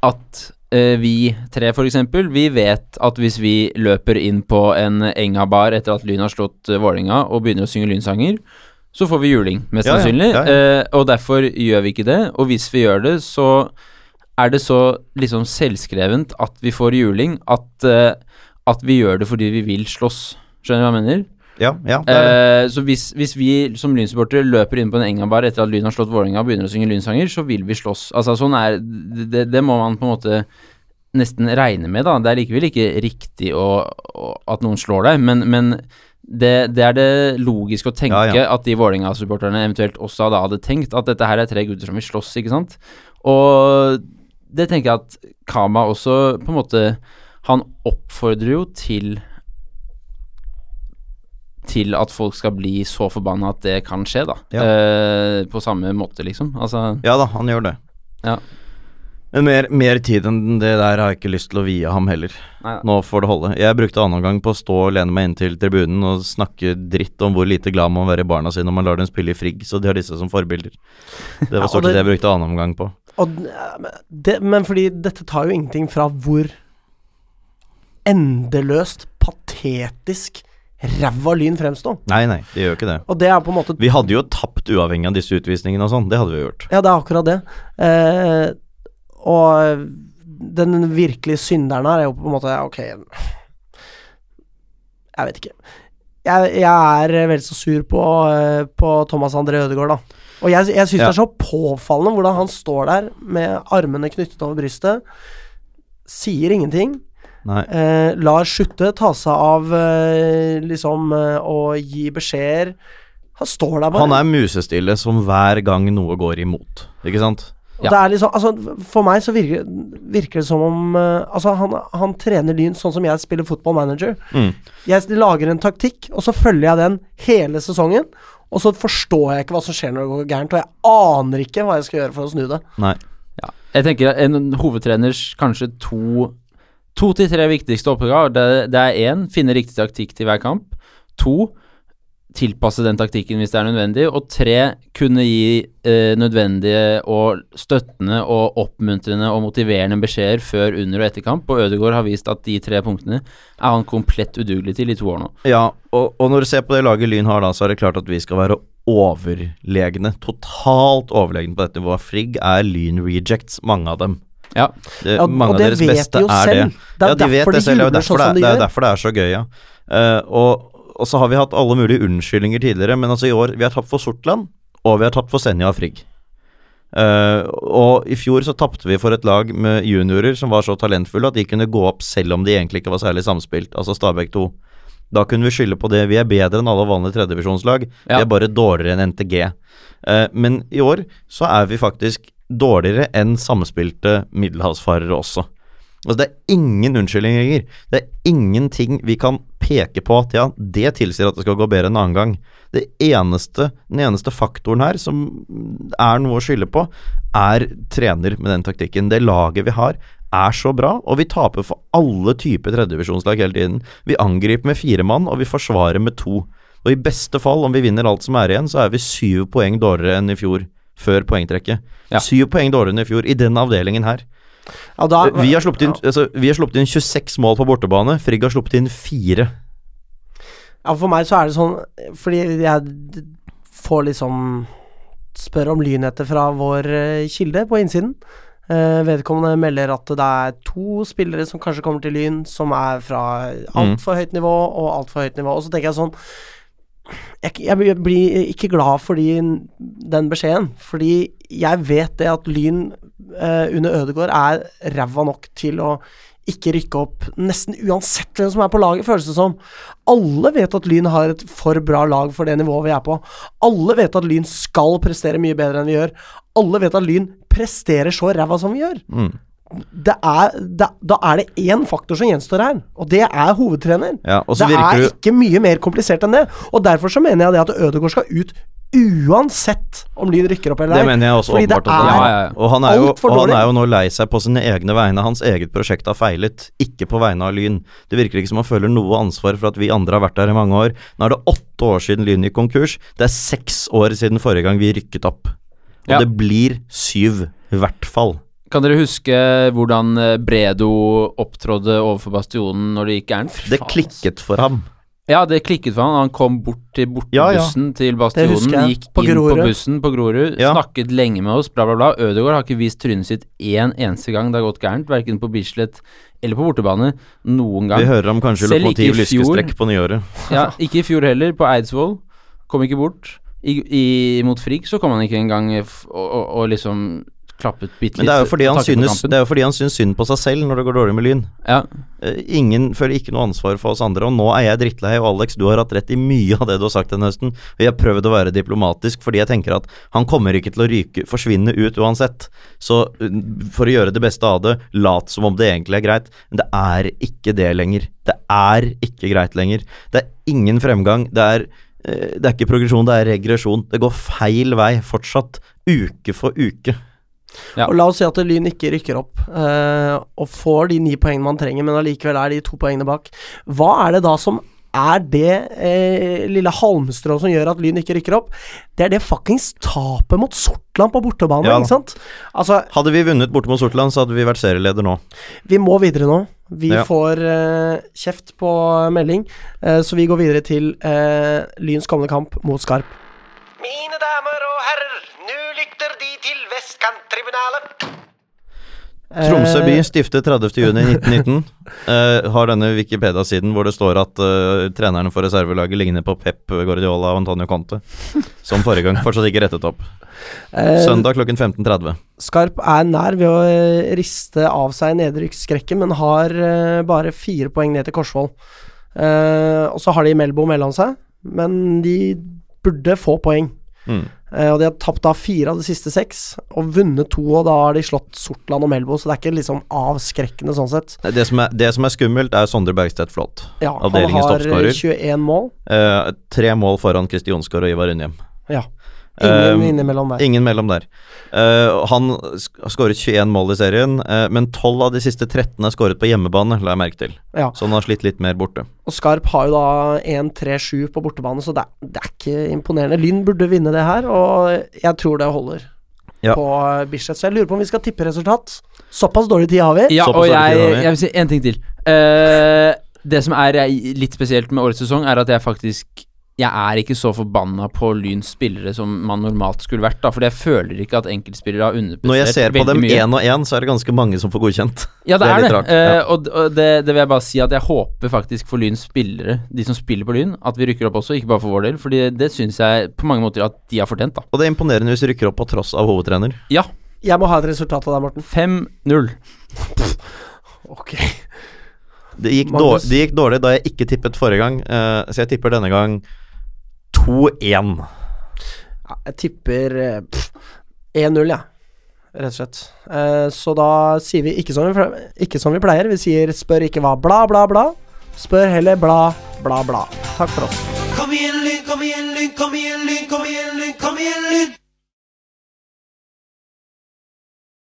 S3: at eh, vi tre, for eksempel, vi vet at hvis vi løper inn på en Enga-bar etter at Lyn har slått eh, Vålerenga, og begynner å synge lynsanger, så får vi juling, mest
S2: Ja, ja,
S3: sannsynlig.
S2: ja, ja.
S3: Eh, og derfor gjør vi ikke det. Og hvis vi gjør det, så er det så liksom selvskrevent at vi får juling, at, eh, at vi gjør det fordi vi vil slåss. Skjønner du hva jeg mener?
S2: Ja, ja, det er det.
S3: Eh, så hvis, hvis vi som lynsupportere løper inn på en engabar etter at Lyn har slått Vålerenga og begynner å synge lynsanger, så vil vi slåss. Altså sånn er det, det, det må man på en måte nesten regne med, da. Det er likevel ikke riktig å, å, at noen slår deg, men, men det, det er det logisk å tenke
S2: Ja, ja.
S3: at de Vålerenga-supporterne eventuelt også da hadde tenkt at dette her er tre gutter som vil slåss, ikke sant. Og det tenker jeg at Kama også på en måte Han oppfordrer jo til til at folk skal bli så forbanna at det kan skje, da.
S2: Ja.
S3: Eh, på samme måte, liksom. Altså
S2: Ja da, han gjør det.
S3: Ja.
S2: Men mer, mer tid enn det der har jeg ikke lyst til å vie ham heller.
S3: Nei.
S2: Nå får det holde. Jeg brukte annen omgang på å stå og lene meg inn til tribunen og snakke dritt om hvor lite glad man må være i barna sine når man lar dem spille i frigg, så de har disse som forbilder. Det
S1: Ja,
S2: var
S1: og
S2: stort sett det
S1: det-
S2: jeg brukte annen omgang på.
S1: Og, det, men fordi dette tar jo ingenting fra hvor endeløst patetisk ræva Lyn fremstår.
S2: Nei, nei, det gjør jo ikke det.
S1: Og det er på en måte
S2: Vi hadde jo tapt uavhengig av disse utvisningene og sånn, det hadde vi jo gjort.
S1: Ja, det er akkurat det. Eh, og den virkelige synderen her er jo på en måte Ok, jeg vet ikke. Jeg, jeg er vel så sur på, eh, på Thomas André Ødegaard, da. Og jeg, jeg syns
S2: Ja.
S1: det er så påfallende hvordan han står der med armene knyttet over brystet, sier ingenting.
S2: Nei.
S1: Eh, lar Schutte ta seg av eh, liksom eh, å gi beskjeder. Han står der bare.
S2: Han er musestille som hver gang noe går imot, ikke sant?
S1: Og Det er liksom, altså, for meg så virker, virker det som om eh, Altså, han, han trener Lyn sånn som jeg spiller football manager.
S2: Mm.
S1: Jeg s- lager en taktikk, og så følger jeg den hele sesongen. Og så forstår jeg ikke hva som skjer når det går gærent, og jeg aner ikke hva jeg skal gjøre for å snu det.
S2: Nei.
S3: Ja. Jeg tenker at en hovedtreners kanskje to To til tre viktigste oppgaver. Det, det er én, finne riktig taktikk til hver kamp. To, tilpasse den taktikken hvis det er nødvendig. Og tre, kunne gi eh, nødvendige og støttende og oppmuntrende og motiverende beskjeder før, under og etter kamp. Og Ødegaard har vist at de tre punktene er han komplett udugelig til i to år nå.
S2: Ja, og, og når du ser på det laget Lyn har da, så er det klart at vi skal være overlegne. Totalt overlegne på dette nivået. Frigg er Lyn rejects, mange av dem.
S3: Ja.
S2: Det,
S1: Ja,
S2: mange
S1: og
S2: av
S1: det
S2: deres
S1: vet
S2: beste
S1: de jo
S2: er
S1: selv.
S2: det.
S1: Det er
S2: ja, de vet
S1: derfor
S2: det
S1: de
S2: selv, og
S1: jubler
S2: derfor
S1: sånn som de
S2: det, er- det er
S1: gjør.
S2: derfor det er så gøy, ja. Eh, og, og så har vi hatt alle mulige unnskyldninger tidligere, men altså i år Vi har tapt for Sortland, og vi har tapt for Senja og Frigg. Eh, og i fjor så tapte vi for et lag med juniorer som var så talentfulle at de kunne gå opp selv om de egentlig ikke var særlig samspilt, altså Stabæk 2. Da kunne vi skylde på det. Vi er bedre enn alle vanlige tredjedivisjonslag.
S3: Ja.
S2: Vi er bare dårligere enn NTG. Eh, men i år så er vi faktisk dårligere enn samspilte middelhavsfarere også. Altså Det er ingen unnskyldninger lenger. Det er ingenting vi kan peke på at ja, det tilsier at det skal gå bedre en annen gang. Det eneste, den eneste faktoren her som er noe å skylde på, er trener med den taktikken. Det laget vi har er så bra, og vi taper for alle typer tredjedivisjonslag hele tiden. Vi angriper med fire mann, og vi forsvarer med to. Og i beste fall, om vi vinner alt som er igjen, så er vi syv poeng dårligere enn i fjor. Før poengtrekket.
S3: Ja.
S2: Syv poeng dårligere enn i fjor, i denne avdelingen her.
S1: Ja, da,
S2: Vi har, sluppet inn, altså, vi har sluppet inn 26 mål på bortebane. Frigg har sluppet inn fire.
S1: Ja, for meg så er det sånn Fordi jeg d- får liksom Spør om lynheter fra vår eh, kilde på innsiden. Eh, vedkommende melder at det er to spillere som kanskje kommer til Lyn, som er fra altfor høyt nivå og altfor høyt nivå. Og så tenker jeg sånn jeg, jeg blir- blir ikke glad for de, den beskjeden, fordi jeg vet det at Lyn eh, under Ødegård er ræva nok til å ikke rykke opp nesten uansett hvem som er på laget, føles det som. Alle vet at Lyn har et for bra lag for det nivået vi er på. Alle vet at Lyn skal prestere mye bedre enn vi gjør. Alle vet at Lyn presterer så ræva som vi gjør. Det er, da- da er det én faktor som gjenstår her, og det er hovedtrener.
S2: Ja, og så
S1: det
S2: virker
S1: er
S2: du-
S1: ikke mye mer komplisert enn det. Og derfor så mener jeg det at Ødegaard skal ut uansett om Lyn rykker opp eller
S2: Det mener jeg også
S1: Fordi det
S2: åpenbart. At
S1: er
S2: han
S3: Ja,
S2: er.
S3: ja, ja.
S2: Og han er, jo,
S1: altfor
S2: og han
S1: dårlig.
S2: er jo nå lei seg på sine egne vegne. Hans eget prosjekt har feilet, ikke på vegne av Lyn. Det virker ikke som han føler noe ansvar for at vi andre har vært der i mange år. Nå er det åtte år siden Lyn gikk konkurs. Det er seks år siden forrige gang vi rykket opp. Og
S3: Ja.
S2: det blir syv, i hvert fall.
S3: Kan dere huske hvordan eh, Bredo opptrådte overfor Bastionen når det gikk gærent? Fy
S2: Det
S3: faen, ass.
S2: klikket for ham.
S3: Ja, det klikket for han. Han kom bort til
S2: Ja, ja.
S3: bortebussen til
S1: Det husker
S3: Bastionen,
S1: jeg.
S3: gikk
S1: På
S3: inn
S1: Grorud.
S3: på bussen på Grorud,
S2: Ja.
S3: snakket lenge med oss, bla, bla, bla. Ødegaard har ikke vist trynet sitt én eneste gang det har gått gærent, verken på Bislett eller på bortebane, noen gang.
S2: Vi hører ham kanskje i
S3: Selv ikke i
S2: lokomotiv
S3: fjor.
S2: lyskestrekk på nyåret.
S3: Ja, ikke i fjor heller, på Eidsvoll. Kom ikke bort. I, i, mot Frigg så kom han ikke engang eh, f- og, og, og liksom klappet bitte litt.
S2: Men det er jo fordi
S3: og
S2: han
S3: takket for
S2: synes,
S3: kampen.
S2: det er jo fordi han syns synd på seg selv når det går dårlig med Lyn.
S3: Ja,
S2: Eh, Ingen føler ikke noe ansvar for oss andre, og nå er jeg drittlei. Og Alex, du har hatt rett i mye av det du har sagt denne høsten. Og jeg har prøvd å være diplomatisk, fordi jeg tenker at han kommer ikke til å ryke, forsvinne ut uansett. Så mm, for å gjøre det beste av det, lat som om det egentlig er greit. Men det er ikke det lenger. Det er ikke greit lenger. Det er ingen fremgang. Det er eh, det er ikke progresjon, det er regresjon. Det går feil vei fortsatt, uke for uke.
S3: Ja.
S1: Og la oss si at Lyn ikke rykker opp eh, og får de ni poengene man trenger, men allikevel er de to poengene bak. Hva er det da som er det eh, lille halmstrået som gjør at Lyn ikke rykker opp? Det er det fuckings tapet mot Sortland på bortebane,
S2: Ja da.
S1: ikke sant? Altså,
S2: Hadde vi vunnet borte mot Sortland, så hadde vi vært serieleder nå.
S1: vi må videre nå. Vi
S2: Ja.
S1: får eh, kjeft på melding, eh, så vi går videre til eh, Lyns kommende kamp mot Skarp.
S6: Mine damer og herrer, nå lytter De til Vestkanttribunalet.
S2: Tromsø by
S1: Eh,
S2: stiftet 30.6.1919. Uh, har denne Wikipedia-siden hvor det står at eh, trenerne for reservelaget ligner på Pep Guardiola og Antonio Conte. Som forrige gang. Fortsatt ikke rettet opp.
S1: eh,
S2: Søndag klokken 15.30.
S1: Skarp er nær ved å eh, riste av seg nedrykksskrekken, men har eh, bare fire poeng ned til Korsvoll. Eh, og så har de Melbo mellom seg, men de burde få poeng.
S2: Mm.
S1: Eh, og de har tapt da fire av de siste seks, og vunnet to, og da har de slått Sortland og Melbo, så det er ikke liksom avskrekkende sånn sett.
S2: Nei, Det, som er- det som er skummelt, er Sondre Bergstedt Flåt.
S1: Ja, han
S2: Avdelingens
S1: har eh,
S2: toppskårer.
S1: 21 mål.
S2: Eh, tre mål foran Kristi Jonsgaard og Ivar Undhjem.
S1: Ja. Ehm, Ingen
S2: Eh,
S1: innimellom der.
S2: Ingen mellom der. Eh, og han sk- har skåret 21 mål i serien, eh, men 12 av de siste 13 er skåret på hjemmebane, la jeg merke til.
S1: Ja.
S2: Så han har slitt litt mer borte.
S1: Og Skarp har jo da 1-3-7 på bortebane, så det er, det er ikke imponerende. Lyn burde vinne det her, og jeg tror det holder
S2: Ja.
S1: på eh, Bislett. Så jeg lurer på om vi skal tippe resultat. Såpass dårlig tid har vi.
S3: ja
S2: Såpass er
S3: og
S2: det
S3: jeg,
S2: ikke, Daniel.
S3: jeg vil si en ting til. Eh, det som er eh, litt spesielt med årets sesong, er at jeg faktisk jeg er ikke så forbanna på Lyns spillere som man normalt skulle vært, da, fordi jeg føler ikke at enkeltspillere har
S2: Når jeg ser
S3: underprestert
S2: på
S3: veldig
S2: dem
S3: mye.
S2: én og én, så er det ganske mange som får godkjent.
S3: Ja, det
S2: Det er
S3: er det.
S2: litt rart,
S3: Eh,
S2: ja.
S3: og og det, det vil jeg bare si at jeg håper faktisk for Lyns spillere, de som spiller på Lyn, at vi rykker opp også, ikke bare for vår del. Fordi det syns jeg på mange måter at de har fortjent, da.
S2: Og det er imponerende hvis de rykker opp på tross av hovedtrener.
S3: Ja,
S1: Jeg må ha et resultat av deg, Morten.
S3: 5-0.
S1: Ok.
S2: Det gikk,
S1: Magnus?
S2: dårlig, det gikk dårlig da jeg ikke tippet forrige gang, eh, så jeg tipper denne gang 2-1.
S1: Ja, jeg tipper eh, pff, 1-0, jeg. Ja. Rett og slett. Eh, så da sier vi ikke som vi, ple- ikke som vi pleier. Vi sier spør ikke hva bla, bla, bla. Spør heller bla, bla, bla. Takk for oss.
S6: Kom igjen, Lyn, kom igjen, Lyn, kom igjen, Lyn, kom igjen, Lyn, kom igjen, Lyn!